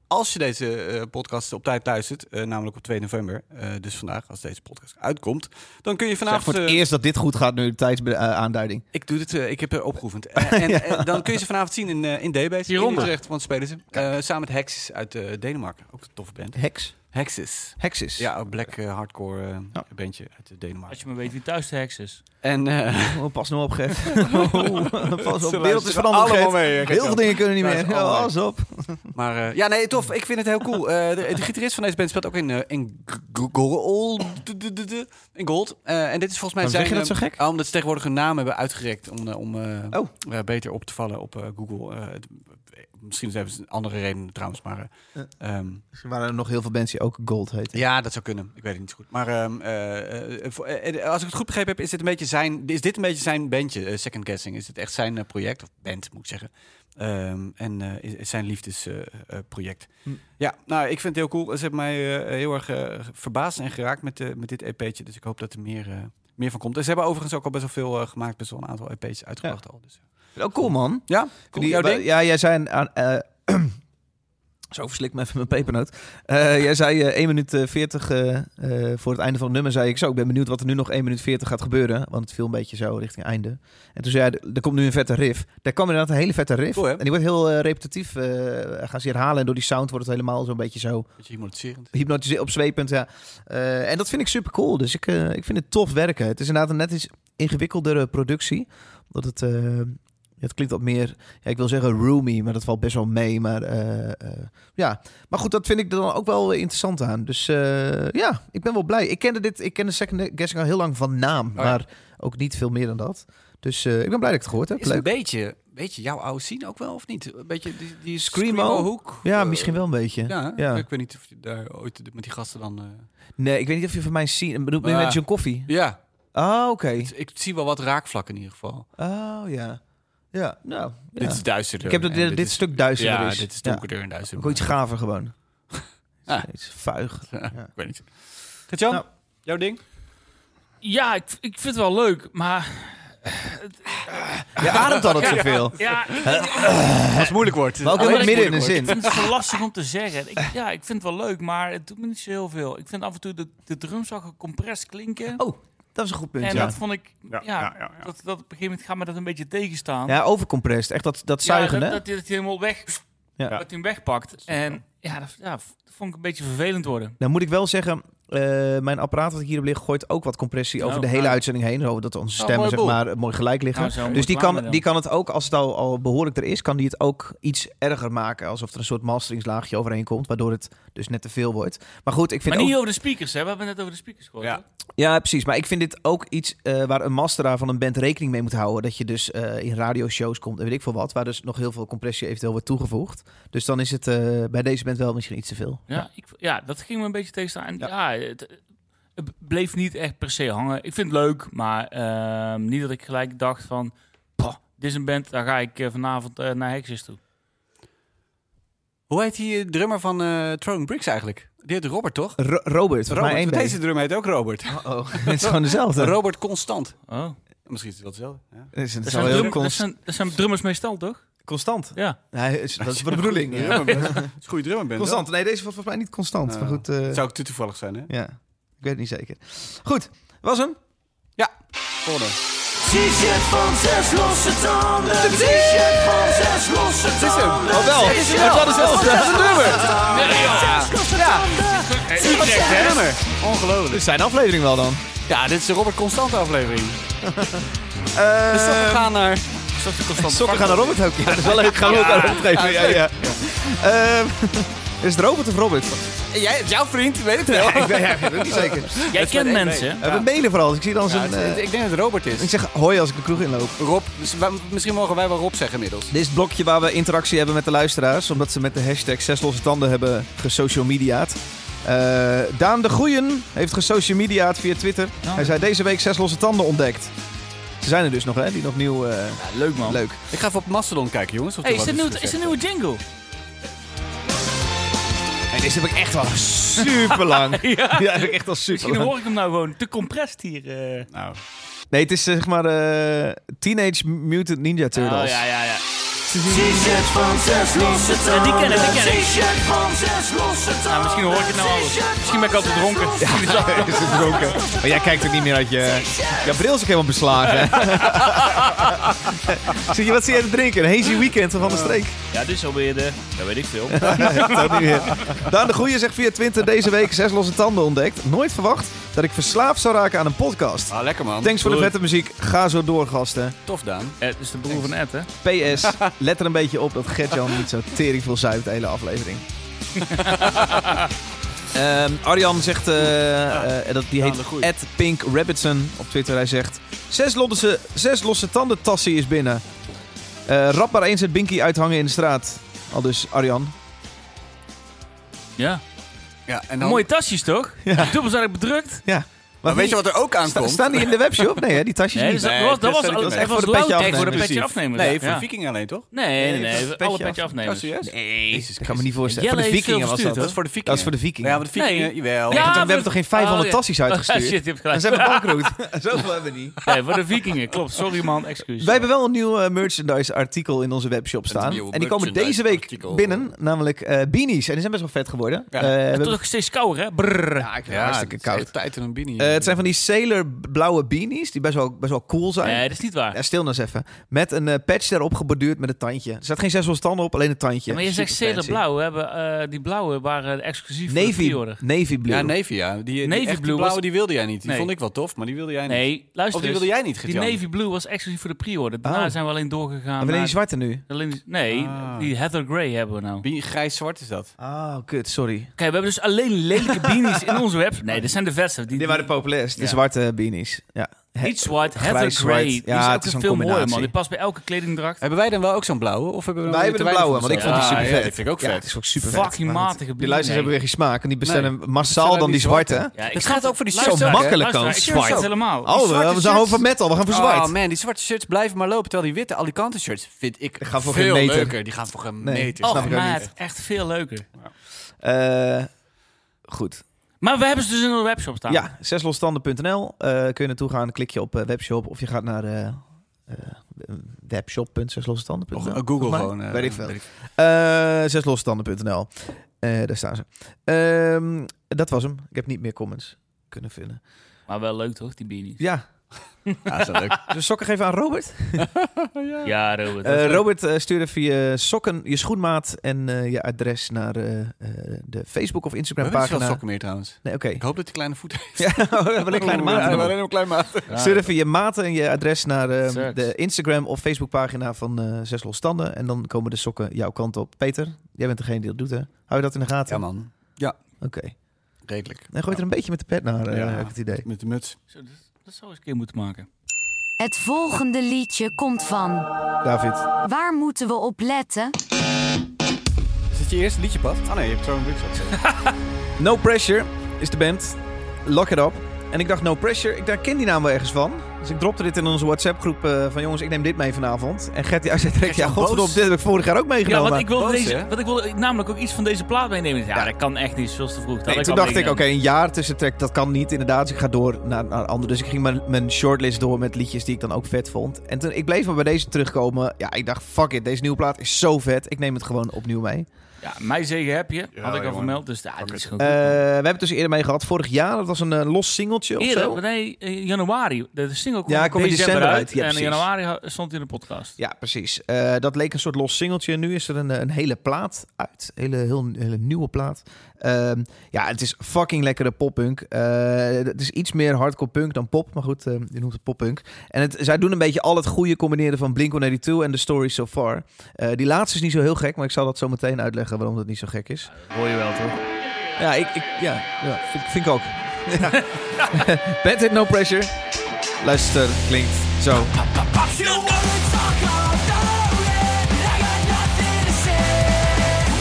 [SPEAKER 1] als je deze eh, podcast op tijd luistert, eh, namelijk op 2 november, eh, dus vandaag, als deze podcast uitkomt, dan kun je
[SPEAKER 2] Zeg
[SPEAKER 1] vanavond...
[SPEAKER 2] voor het
[SPEAKER 1] eh,
[SPEAKER 2] eerst dat dit goed gaat, nu de tijdsaanduiding.
[SPEAKER 1] ik doe dit, eh, ik heb er opgeoefend. Eh, en eh, dan kun je ze vanavond zien in, eh, in D-Base. In
[SPEAKER 4] Hieronder.
[SPEAKER 1] Utrecht, want spelen ze. Eh, samen met Hexis uit eh, Denemarken. Ook een toffe band.
[SPEAKER 2] Hex.
[SPEAKER 1] Hexis.
[SPEAKER 2] Hexis.
[SPEAKER 1] Ja, een black eh, hardcore eh,
[SPEAKER 2] Ja.
[SPEAKER 1] bandje uit eh, Denemarken.
[SPEAKER 4] Als je maar weet wie thuis de heks is.
[SPEAKER 1] En eh
[SPEAKER 2] Oh, pas nou op, Gert. Oh, pas op. De wereld is veranderd,
[SPEAKER 1] allemaal
[SPEAKER 2] Gert.
[SPEAKER 1] mee. eh,
[SPEAKER 2] Heel veel
[SPEAKER 1] Gert-Jan.
[SPEAKER 2] dingen kunnen niet
[SPEAKER 1] Ja,
[SPEAKER 2] meer.
[SPEAKER 1] dat is allemaal
[SPEAKER 2] Ja, Pas op.
[SPEAKER 1] Maar eh, ja, nee, tof. Ik vind het heel cool. Eh, de, de gitarist van deze band speelt ook in, eh, in G- G- Gold. In Gold. Eh, en dit is volgens mij zijn...
[SPEAKER 2] Waarom zeg je dat
[SPEAKER 1] eh,
[SPEAKER 2] zo gek?
[SPEAKER 1] ah, omdat ze tegenwoordig hun naam hebben uitgerekt om, eh, om eh,
[SPEAKER 2] Oh.
[SPEAKER 1] eh, beter op te vallen op eh, Google. Eh, het- misschien hebben ze een andere reden trouwens, maar... eh,
[SPEAKER 2] Ja.
[SPEAKER 1] ehm,
[SPEAKER 2] Dus Er waren er nog heel veel mensen die ook Gold heten.
[SPEAKER 1] Ja, dat zou kunnen. Ik weet het niet zo goed. Maar ehm, eh, eh, voor- eh, eh, als ik het goed begrepen heb, is dit een beetje zijn, is dit een beetje zijn bandje, eh, Second Guessing. Is dit echt zijn eh, project, of band moet ik zeggen. Ehm, en eh, is, is zijn liefdesproject.
[SPEAKER 2] Hm.
[SPEAKER 1] Ja, nou, ik vind het heel cool. Ze hebben mij eh, heel erg eh, verbaasd en geraakt met, eh, met dit EP'tje. Dus ik hoop dat er meer, eh, meer van komt. En ze hebben overigens ook al best wel veel eh, gemaakt. Best wel een aantal EP'tjes uitgebracht al. Dus,
[SPEAKER 2] Oh, cool man.
[SPEAKER 1] ja, cool.
[SPEAKER 2] Die-
[SPEAKER 1] Jouw
[SPEAKER 2] wa-
[SPEAKER 1] ding?
[SPEAKER 2] Ja, jij zei... een- Aan, eh, zo verslik me even mijn pepernoot. Eh, jij zei eh 1 minuut eh, 40 eh, eh, voor het einde van het nummer. zei ik zo, ik ben benieuwd wat er nu nog 1 minuut 40 gaat gebeuren. Want het viel een beetje zo richting einde. En toen zei hij, er komt nu een vette riff. Daar kwam inderdaad een hele vette riff.
[SPEAKER 1] Cool, hè?
[SPEAKER 2] en die wordt heel eh, repetitief. eh, gaan ze herhalen en door die sound wordt het helemaal zo'n beetje zo
[SPEAKER 1] Beetje hypnotiserend.
[SPEAKER 2] hypnotiseer op zweepend, ja. Eh, en dat vind ik super cool. Dus ik, eh, ik vind het tof werken. Het is inderdaad een net iets ingewikkeldere productie. Omdat het, eh, het klinkt wat meer, ja, ik wil zeggen roomy, maar dat valt best wel mee. Maar eh, eh, ja, maar goed, dat vind ik er dan ook wel interessant aan. Dus eh, ja, ik ben wel blij. Ik kende dit, ik kende Second Guessing al heel lang van naam,
[SPEAKER 1] Oh ja.
[SPEAKER 2] maar ook niet veel meer dan dat. Dus eh, ik ben blij dat ik het gehoord heb.
[SPEAKER 1] Is het een
[SPEAKER 2] Leuk.
[SPEAKER 1] beetje, beetje jouw oude scene ook wel, of niet? Een beetje die, die
[SPEAKER 2] Screamo?
[SPEAKER 1] screamo-hoek?
[SPEAKER 2] Ja,
[SPEAKER 1] eh,
[SPEAKER 2] misschien wel een beetje.
[SPEAKER 1] Ja, hè?
[SPEAKER 2] Ja.
[SPEAKER 1] ik weet niet of je daar ooit met die gasten dan... eh,
[SPEAKER 2] Nee, ik weet niet of je van mij ziet. Bedoel, ben je
[SPEAKER 1] Ah.
[SPEAKER 2] met John Coffee?
[SPEAKER 1] Ja,
[SPEAKER 2] Ah, oké.
[SPEAKER 1] ik, ik zie wel wat raakvlakken in ieder geval.
[SPEAKER 2] Oh ja. Ja, nou.
[SPEAKER 1] Dit is duisterder.
[SPEAKER 2] ik heb dat
[SPEAKER 1] en
[SPEAKER 2] dit, dit
[SPEAKER 1] is-
[SPEAKER 2] stuk duisterder
[SPEAKER 1] Ja,
[SPEAKER 2] is.
[SPEAKER 1] dit is
[SPEAKER 2] Ja.
[SPEAKER 1] donkerder en
[SPEAKER 2] Ook
[SPEAKER 1] duisterder.
[SPEAKER 2] wel iets gaver gewoon.
[SPEAKER 1] Ah.
[SPEAKER 2] Iets vuig.
[SPEAKER 1] ik weet niet. Katjan,
[SPEAKER 2] Nou.
[SPEAKER 1] jouw ding?
[SPEAKER 4] Ja, ik, ik vind het wel leuk, maar...
[SPEAKER 2] Je ademt altijd zoveel.
[SPEAKER 4] Ja, ik-
[SPEAKER 1] Als het moeilijk wordt.
[SPEAKER 2] Maar ook
[SPEAKER 4] Oh,
[SPEAKER 2] in
[SPEAKER 4] dat
[SPEAKER 2] het
[SPEAKER 4] is
[SPEAKER 2] midden in een
[SPEAKER 1] moeilijk,
[SPEAKER 2] zin.
[SPEAKER 4] Ik vind het zo lastig om te zeggen. Ik, ja, ik vind het wel leuk, maar het doet me niet zo heel veel. Ik vind af en toe de, de drums al gecompressed klinken.
[SPEAKER 2] Oh, dat is een goed punt.
[SPEAKER 4] en
[SPEAKER 2] ja.
[SPEAKER 4] dat vond ik... Ja,
[SPEAKER 5] ja, ja, ja.
[SPEAKER 4] Dat, dat op een gegeven moment gaat me dat een beetje tegenstaan.
[SPEAKER 2] ja, overcompressed. Echt dat, dat
[SPEAKER 4] Ja,
[SPEAKER 2] zuigen,
[SPEAKER 4] dat,
[SPEAKER 2] hè?
[SPEAKER 4] dat, hij- dat hij helemaal weg...
[SPEAKER 2] Ja.
[SPEAKER 4] Dat hij hem wegpakt. En ja dat, ja, dat vond ik een beetje vervelend worden.
[SPEAKER 2] Nou moet ik wel zeggen, eh, mijn apparaat dat ik hier heb liggen... gooit ook wat compressie
[SPEAKER 4] Oh,
[SPEAKER 2] over de hele
[SPEAKER 4] nou.
[SPEAKER 2] uitzending heen. Zodat onze
[SPEAKER 4] Oh,
[SPEAKER 2] stemmen
[SPEAKER 4] mooi
[SPEAKER 2] zeg
[SPEAKER 4] boel.
[SPEAKER 2] maar, mooi gelijk liggen.
[SPEAKER 4] Nou, zo
[SPEAKER 2] Dus
[SPEAKER 4] moet
[SPEAKER 2] die
[SPEAKER 4] het
[SPEAKER 2] kan,
[SPEAKER 4] waren
[SPEAKER 2] die
[SPEAKER 4] dan.
[SPEAKER 2] kan het ook, als het al, al behoorlijk er is, kan die het ook iets erger maken. Alsof er een soort masteringslaagje overheen komt, waardoor het dus net te veel wordt. Maar goed, ik vind
[SPEAKER 4] Maar
[SPEAKER 2] ook...
[SPEAKER 4] niet over de speakers, hè. We hebben het net over de speakers gehoord.
[SPEAKER 1] Ja.
[SPEAKER 4] hè?
[SPEAKER 2] Ja, precies. Maar ik vind dit ook iets eh, waar een masteraar van een band rekening mee moet houden. Dat je dus eh, in radioshows komt en weet ik veel wat. Waar dus nog heel veel compressie eventueel wordt toegevoegd. Dus dan is het eh, bij deze band wel misschien iets te veel.
[SPEAKER 4] Ja, ik, ja, dat ging me een beetje tegenstaan. En ja, het, eh, het bleef niet echt per se hangen. Ik vind het leuk, maar ehm, niet dat ik gelijk dacht van... "Pah, Dit is een band, daar ga ik eh, vanavond eh, naar Hexis toe.
[SPEAKER 1] Hoe heet die eh, drummer van eh Throwing Bricks eigenlijk? Die heet Robert, toch?
[SPEAKER 2] Ro- Robert, volgens
[SPEAKER 1] Robert,
[SPEAKER 2] mij één
[SPEAKER 1] want
[SPEAKER 2] band.
[SPEAKER 1] deze drummer heet ook Robert.
[SPEAKER 2] Oh, het is gewoon dezelfde.
[SPEAKER 1] Robert Constant.
[SPEAKER 4] Oh.
[SPEAKER 1] Misschien is het wel hetzelfde. Ja.
[SPEAKER 2] Het is, het
[SPEAKER 4] Dat,
[SPEAKER 2] is
[SPEAKER 4] zijn
[SPEAKER 2] wel heel
[SPEAKER 4] drum- dat,
[SPEAKER 2] cons-
[SPEAKER 4] zijn, dat zijn drummers meestal, toch?
[SPEAKER 2] constant.
[SPEAKER 4] Ja.
[SPEAKER 2] Nee, is- dat is voor de bedoeling. ja.
[SPEAKER 1] Is goede drummer bent.
[SPEAKER 2] Constant. Nee, deze was volgens mij niet constant.
[SPEAKER 1] Nou,
[SPEAKER 2] maar goed, eh,
[SPEAKER 1] Zou ik te toevallig zijn, hè?
[SPEAKER 2] ja. ik weet het niet zeker. Goed, was hem.
[SPEAKER 1] Volgende.
[SPEAKER 3] T-shirt van zes losse tanden. T-shirt van zes losse tanden.
[SPEAKER 2] Oh wel, het is wel dezelfde. Dat is een nummer.
[SPEAKER 1] Drummer. Ongelooflijk.
[SPEAKER 2] Dus zijn aflevering wel dan.
[SPEAKER 1] Ja, dit is de Robert Constant aflevering.
[SPEAKER 2] Eh,
[SPEAKER 1] Dus we gaan naar...
[SPEAKER 2] Sokken gaan naar Robert ook. Ja, dat is wel leuk. Gaan we ook aan Robert geven. Ja, ja. Ehm, is het Robert of Robert?
[SPEAKER 1] Jij, jouw vriend, weet ik wel.
[SPEAKER 2] ik ben ja, ik weet het niet zeker.
[SPEAKER 4] Jij kent
[SPEAKER 1] met één
[SPEAKER 4] mensen, hè?
[SPEAKER 2] Eh, We mailen vooral. Ik zie dan
[SPEAKER 1] Ja,
[SPEAKER 2] zijn...
[SPEAKER 1] het- het-
[SPEAKER 2] eh,
[SPEAKER 1] ik denk dat het Robert
[SPEAKER 2] ik
[SPEAKER 1] is.
[SPEAKER 2] zeg hoi als ik de kroeg inloop.
[SPEAKER 1] Rob, dus wij- misschien mogen wij wel Rob zeggen inmiddels.
[SPEAKER 2] Dit is het blokje waar we interactie hebben met de luisteraars. Omdat ze met de hashtag zes losse tanden hebben gesocial mediaat. Eh, Daan de Goeien heeft gesocial mediaat via Twitter.
[SPEAKER 4] Ja.
[SPEAKER 2] Hij zei deze week zes losse tanden ontdekt. Ze zijn er dus nog, hè? Die nog nieuw. eh,
[SPEAKER 4] Ja, leuk man.
[SPEAKER 2] leuk.
[SPEAKER 1] Ik ga even op Mastodon kijken, jongens. Of
[SPEAKER 4] Hey,
[SPEAKER 1] er
[SPEAKER 4] is
[SPEAKER 1] wat
[SPEAKER 4] er nieuw-
[SPEAKER 1] te
[SPEAKER 4] is er een
[SPEAKER 1] zeggen.
[SPEAKER 4] nieuwe jingle?
[SPEAKER 2] En deze heb ik echt al super lang.
[SPEAKER 4] Ja.
[SPEAKER 2] Ja, heb ik echt al super
[SPEAKER 4] Misschien hoor ik hem nou gewoon te compressed hier. eh.
[SPEAKER 1] Nou,
[SPEAKER 2] Nee, het is zeg maar eh, Teenage Mutant Ninja Turtles.
[SPEAKER 4] Oh, ja, ja, ja.
[SPEAKER 3] T-shirt van zes losse
[SPEAKER 4] Ja,
[SPEAKER 3] tanden.
[SPEAKER 4] die ken ik, die ken ik.
[SPEAKER 3] T-shirt van zes losse tanden.
[SPEAKER 4] Nou, misschien hoor ik het nou alles.
[SPEAKER 3] T-shirt
[SPEAKER 4] Misschien ben ik
[SPEAKER 3] van
[SPEAKER 4] al te
[SPEAKER 3] zes
[SPEAKER 4] dronken.
[SPEAKER 3] losse
[SPEAKER 4] Misschien is dat-
[SPEAKER 2] Is het dronken? Maar jij kijkt ook niet meer uit je... Jouw bril is ook helemaal beslagen. Zie je, wat zie jij te drinken? Een hazy weekend van de streek.
[SPEAKER 4] Ja, dit is alweer de... Dat weet ik veel.
[SPEAKER 2] Zou niet meer. Daan de Goeie zegt via Twitter deze week zes losse tanden ontdekt. Nooit verwacht dat ik verslaafd zou raken aan een podcast.
[SPEAKER 1] ah, lekker man.
[SPEAKER 2] Thanks voor de
[SPEAKER 4] Goed.
[SPEAKER 2] vette muziek. Ga zo door, gasten.
[SPEAKER 1] Tof, Daan.
[SPEAKER 4] Het Eh, is de broer van Ed, hè?
[SPEAKER 2] PS, let er een beetje op dat Gertjan niet zo tering veel zuipt de hele aflevering. Ehm, Arjan zegt, eh, eh, dat, die
[SPEAKER 1] Ja, de goeie.
[SPEAKER 2] heet Pink Rabbitson op Twitter. Hij zegt, zes losse, zes losse tandentassie is binnen. Eh rap maar eens het binky uithangen in de straat. Al dus Arjan.
[SPEAKER 4] Ja.
[SPEAKER 1] Ja, en dan...
[SPEAKER 4] Nou. Mooie tasjes, toch?
[SPEAKER 2] Ja.
[SPEAKER 4] Dubbel zijn bedrukt.
[SPEAKER 1] Maar weet je
[SPEAKER 2] die-
[SPEAKER 1] wat er ook
[SPEAKER 2] sta-
[SPEAKER 1] aankomt?
[SPEAKER 2] staan die in de webshop? Nee, hè, die tasjes
[SPEAKER 4] Nee,
[SPEAKER 2] niet.
[SPEAKER 4] dus dat
[SPEAKER 1] Nee,
[SPEAKER 4] was,
[SPEAKER 1] dat
[SPEAKER 4] dat was,
[SPEAKER 1] stel ik
[SPEAKER 4] dat
[SPEAKER 1] niet
[SPEAKER 4] was,
[SPEAKER 1] mee.
[SPEAKER 2] Echt voor de petje
[SPEAKER 4] lounge-
[SPEAKER 2] afnemen.
[SPEAKER 4] voor de petje
[SPEAKER 1] Precies.
[SPEAKER 4] afnemen.
[SPEAKER 1] Nee,
[SPEAKER 4] ja.
[SPEAKER 1] voor viking alleen, toch?
[SPEAKER 4] Nee, nee,
[SPEAKER 2] Nee,
[SPEAKER 4] nee.
[SPEAKER 2] voor het
[SPEAKER 4] alle
[SPEAKER 2] petje
[SPEAKER 4] petje Oh,
[SPEAKER 2] af.
[SPEAKER 1] Ja,
[SPEAKER 4] afnemen.
[SPEAKER 1] serieus?
[SPEAKER 4] Nee.
[SPEAKER 1] Jezus
[SPEAKER 2] Ik kan me
[SPEAKER 1] Christus.
[SPEAKER 2] niet voorstellen.
[SPEAKER 4] Jelle
[SPEAKER 2] Voor de
[SPEAKER 4] heeft veel
[SPEAKER 2] vikingen was dat.
[SPEAKER 4] verstuurd,
[SPEAKER 1] Dat is voor de vikingen.
[SPEAKER 2] Dat is voor de
[SPEAKER 1] Nou Ja,
[SPEAKER 2] vikingen.
[SPEAKER 1] maar de vikingen,
[SPEAKER 4] Nee.
[SPEAKER 1] jawel.
[SPEAKER 2] Want
[SPEAKER 4] Oh, Ja, voor
[SPEAKER 2] we
[SPEAKER 4] de-
[SPEAKER 2] hebben toch geen 500
[SPEAKER 4] Oh, ja.
[SPEAKER 2] tassies uitgestuurd?
[SPEAKER 4] Shit, je hebt
[SPEAKER 2] Dan
[SPEAKER 4] gelijk.
[SPEAKER 2] zijn we bankroet. Zoveel hebben we niet.
[SPEAKER 4] Nee, voor de vikingen. Klopt. Sorry man, excuus.
[SPEAKER 2] Wij hebben wel een nieuw eh, merchandise artikel in onze webshop staan.
[SPEAKER 1] nieuw
[SPEAKER 2] En die komen deze week
[SPEAKER 1] merchandise-artikel.
[SPEAKER 2] binnen, namelijk eh, beanies. En die zijn best wel vet geworden.
[SPEAKER 1] Ja.
[SPEAKER 2] Eh, we
[SPEAKER 4] Het
[SPEAKER 2] hebben-
[SPEAKER 4] is ook steeds kouder, hè? Brrr.
[SPEAKER 2] ja, ik vind het
[SPEAKER 1] Ja,
[SPEAKER 2] hartstikke koud.
[SPEAKER 1] Tijd in een bini.
[SPEAKER 2] Eh, het zijn van die sailor blauwe beanies, die best wel, best wel cool zijn.
[SPEAKER 4] Nee, dat is niet waar.
[SPEAKER 2] Ja, stil nou eens even. Met een eh, patch daarop geborduurd met een tandje. Er staat geen zes tanden op, alleen een tandje.
[SPEAKER 4] Ja, maar je zegt
[SPEAKER 2] Super
[SPEAKER 4] Sailor
[SPEAKER 2] fancy.
[SPEAKER 4] Blauw. We hebben, eh, die blauwe waren exclusief voor de
[SPEAKER 2] Navy,
[SPEAKER 4] pre-order.
[SPEAKER 2] navy blue.
[SPEAKER 1] Ja, Navy, ja. Die, die,
[SPEAKER 4] Navy
[SPEAKER 1] echt, die
[SPEAKER 4] Blue was-
[SPEAKER 1] blauwe, die wilde jij niet. Die
[SPEAKER 4] Nee.
[SPEAKER 1] vond ik wel tof, maar die wilde jij niet.
[SPEAKER 4] Nee, luister
[SPEAKER 1] Of die
[SPEAKER 4] eens.
[SPEAKER 1] wilde jij niet,
[SPEAKER 4] Die
[SPEAKER 1] Gert-Jan?
[SPEAKER 4] Navy Blue was exclusief voor de pre-order. Daarna
[SPEAKER 2] Oh.
[SPEAKER 4] zijn we alleen doorgegaan.
[SPEAKER 2] Alleen die
[SPEAKER 4] naar-
[SPEAKER 2] zwarte nu.
[SPEAKER 4] alleen die- nee,
[SPEAKER 1] Ah.
[SPEAKER 4] die Heather Grey hebben we nou. Oké,
[SPEAKER 1] Bini- Grijs-zwart is dat.
[SPEAKER 2] Ah, kut, sorry.
[SPEAKER 4] we hebben dus alleen lelijke beanies in onze website. Nee, dit zijn de vesten. Die,
[SPEAKER 2] Die waren populairst. De
[SPEAKER 4] Ja.
[SPEAKER 2] zwarte beanies. Ja.
[SPEAKER 4] Niet zwart, Heather
[SPEAKER 2] grijs,
[SPEAKER 4] Grey.
[SPEAKER 2] zwart.
[SPEAKER 4] Die
[SPEAKER 2] Ja,
[SPEAKER 4] is
[SPEAKER 2] het
[SPEAKER 4] ook
[SPEAKER 2] is
[SPEAKER 4] een
[SPEAKER 2] een
[SPEAKER 4] veel mooier, man.
[SPEAKER 2] combinatie.
[SPEAKER 4] Die past bij elke kledingdracht.
[SPEAKER 1] Hebben wij dan wel ook zo'n blauwe? Of hebben we
[SPEAKER 2] Wij
[SPEAKER 1] dan weer
[SPEAKER 2] hebben de
[SPEAKER 1] te weinig
[SPEAKER 2] blauwe, want ik
[SPEAKER 1] van
[SPEAKER 2] vond
[SPEAKER 1] onszelf?
[SPEAKER 2] die
[SPEAKER 1] Ah, Ja,
[SPEAKER 2] super vet.
[SPEAKER 1] ja, dat vind ik ook
[SPEAKER 2] Ja,
[SPEAKER 1] vet.
[SPEAKER 2] het is ook super vet.
[SPEAKER 4] Fucking matige
[SPEAKER 2] Die
[SPEAKER 4] beanies.
[SPEAKER 2] luisteraars hebben weer
[SPEAKER 4] Nee.
[SPEAKER 2] geen smaak en die bestellen massaal
[SPEAKER 1] bestellen
[SPEAKER 2] dan die
[SPEAKER 1] die
[SPEAKER 2] zwarte.
[SPEAKER 1] zwarte.
[SPEAKER 4] Ja, ik
[SPEAKER 1] Het
[SPEAKER 4] snap
[SPEAKER 1] gaat ook voor die
[SPEAKER 4] Luister,
[SPEAKER 1] zwart,
[SPEAKER 2] hè? Makkelijk
[SPEAKER 4] luister,
[SPEAKER 2] ook,
[SPEAKER 4] ik snap
[SPEAKER 2] zwart.
[SPEAKER 4] het helemaal.
[SPEAKER 1] Die
[SPEAKER 2] Oh, we-
[SPEAKER 1] zwarte
[SPEAKER 2] we zijn
[SPEAKER 1] shirts.
[SPEAKER 2] over metal, we gaan voor zwart.
[SPEAKER 1] Oh man, die zwarte shirts blijven maar lopen. Terwijl die witte Alicante shirts vind ik
[SPEAKER 2] Die gaan voor
[SPEAKER 1] veel
[SPEAKER 2] geen meter.
[SPEAKER 1] leuker. Die gaan voor geen
[SPEAKER 2] Nee,
[SPEAKER 1] meter.
[SPEAKER 2] snap
[SPEAKER 4] Och,
[SPEAKER 2] ik ook
[SPEAKER 4] maat,
[SPEAKER 2] niet.
[SPEAKER 4] echt veel leuker.
[SPEAKER 2] Eh, goed.
[SPEAKER 4] Maar we hebben ze dus in onze webshop staan.
[SPEAKER 2] Ja, zeslosstanden.nl. eh, kun je naartoe gaan, klik je op eh, webshop of je gaat naar eh, eh, webshop.zeslosstanden.nl.
[SPEAKER 1] Of, eh, Google
[SPEAKER 2] Volgens mij.
[SPEAKER 1] gewoon, eh,
[SPEAKER 2] weet ik veel.
[SPEAKER 1] weet ik
[SPEAKER 2] Eh zeslosstanden.nl. Eh, daar staan ze. Ehm, dat was hem. Ik heb niet meer comments kunnen vinden.
[SPEAKER 4] Maar wel leuk toch, die beanies?
[SPEAKER 2] Ja,
[SPEAKER 1] Ja, is dat Ah, leuk.
[SPEAKER 2] dus sokken geven aan Robert.
[SPEAKER 4] Ja, Robert. dat
[SPEAKER 2] Eh,
[SPEAKER 4] is leuk.
[SPEAKER 2] Robert eh, stuurde via sokken je schoenmaat en eh, je adres naar eh, eh, de Facebook of
[SPEAKER 1] We
[SPEAKER 2] Instagram
[SPEAKER 1] hebben niet veel
[SPEAKER 2] pagina.
[SPEAKER 1] sokken meer trouwens.
[SPEAKER 2] Nee, oké.
[SPEAKER 1] Ik hoop dat hij kleine voeten heeft.
[SPEAKER 2] Ja, we hebben eh, een kleine maat.
[SPEAKER 1] Ja, alleen een kleine maat.
[SPEAKER 4] Ja,
[SPEAKER 2] Stuur even je maten en je adres naar eh,
[SPEAKER 4] Sucks.
[SPEAKER 2] de Instagram of Facebookpagina van eh Zes Los Standen. En dan komen de sokken jouw kant op. Peter, jij bent degene die dat doet, hè? Hou je dat in de gaten?
[SPEAKER 1] Ja man,
[SPEAKER 2] Oké.
[SPEAKER 1] redelijk.
[SPEAKER 2] En gooi het er een beetje met de pet naar, eh,
[SPEAKER 1] Ja.
[SPEAKER 2] heb ik het idee.
[SPEAKER 1] Met de muts.
[SPEAKER 4] Zo, dat, dat zou eens een keer moeten maken.
[SPEAKER 6] Het volgende liedje komt van.
[SPEAKER 2] David.
[SPEAKER 6] Waar moeten we op letten?
[SPEAKER 1] Is dit je eerste liedje, Pat? Ah nee, je hebt zo'n rugzak.
[SPEAKER 2] No Pressure is de band. Lock it up. En ik dacht, No Pressure, ik, daar ken die naam wel ergens van. Dus ik dropte dit in onze WhatsApp-groep eh, van jongens, ik neem dit mee vanavond. En Gert, die uit zei direct, ja,
[SPEAKER 1] Gert-Jan boos.
[SPEAKER 2] godverdomme, dit heb ik vorig jaar ook
[SPEAKER 4] Ja,
[SPEAKER 2] meegenomen.
[SPEAKER 4] want ik wilde,
[SPEAKER 1] boos,
[SPEAKER 4] deze,
[SPEAKER 1] hè?
[SPEAKER 4] want ik wilde namelijk ook iets van deze plaat meenemen. Ja,
[SPEAKER 2] Ja.
[SPEAKER 4] dat kan echt niet, zoals te vroeg. Dat
[SPEAKER 2] Nee,
[SPEAKER 4] had
[SPEAKER 2] toen
[SPEAKER 4] al
[SPEAKER 2] dacht ik, oké,
[SPEAKER 4] meegenomen.
[SPEAKER 2] een jaar tussen track, dat kan niet inderdaad. Dus ik ga door naar, naar andere. Dus ik ging mijn, mijn shortlist door met liedjes die ik dan ook vet vond. En toen, ik bleef maar bij deze terugkomen. Ja, ik dacht, fuck it, deze nieuwe plaat is zo vet. Ik neem het gewoon opnieuw mee.
[SPEAKER 4] Ja, mij zegen heb je,
[SPEAKER 1] Ja,
[SPEAKER 4] had ik al
[SPEAKER 1] jongen.
[SPEAKER 4] vermeld. Dus ja, dat is gewoon
[SPEAKER 2] Eh, we
[SPEAKER 4] goed.
[SPEAKER 2] hebben het dus eerder mee gehad. Vorig jaar, dat was een eh, los singeltje of zo.
[SPEAKER 4] Eerder, nee, eh, januari. De single kwam,
[SPEAKER 2] Ja,
[SPEAKER 4] in
[SPEAKER 2] kwam in
[SPEAKER 4] december,
[SPEAKER 2] december
[SPEAKER 4] uit.
[SPEAKER 2] uit. Ja,
[SPEAKER 4] en in
[SPEAKER 2] precies.
[SPEAKER 4] januari ha- stond hij in de podcast.
[SPEAKER 2] Ja, precies. Eh, dat leek een soort los singeltje. Nu is er een, eh, een hele plaat uit. Hele, heel, hele nieuwe plaat. Ehm, ja, het is fucking lekkere poppunk. Eh, het is iets meer hardcore punk dan pop. Maar goed, ehm, je noemt het poppunk. En het, zij doen een beetje al het goede combineren van Blink-182 en The Story So Far. Eh, die laatste is niet zo heel gek, maar ik zal dat zo meteen uitleggen waarom dat niet zo gek is.
[SPEAKER 4] Hoor je wel, toch?
[SPEAKER 2] Ja, ik, ik, ja, ja vind, vind ik ook. Ja. Bad Hit No Pressure. Luister, klinkt zo.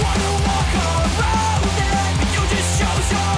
[SPEAKER 3] Wanna walk around it, but you just chose your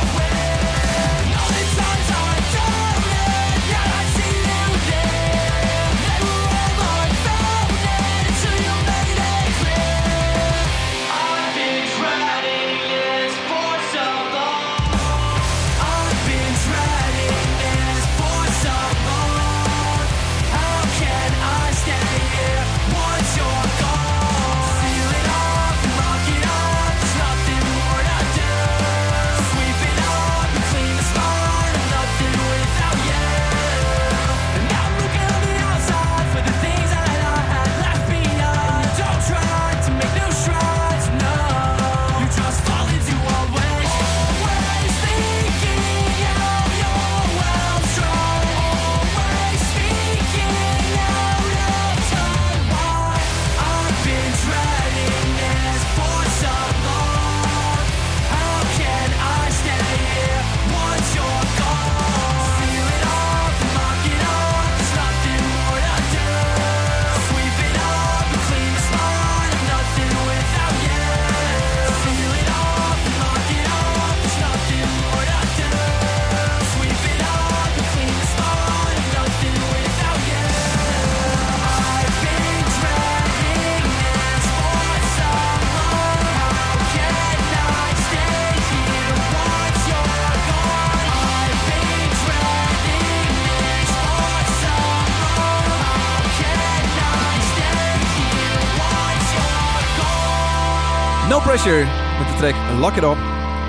[SPEAKER 2] No Pressure met de track Lock It Up.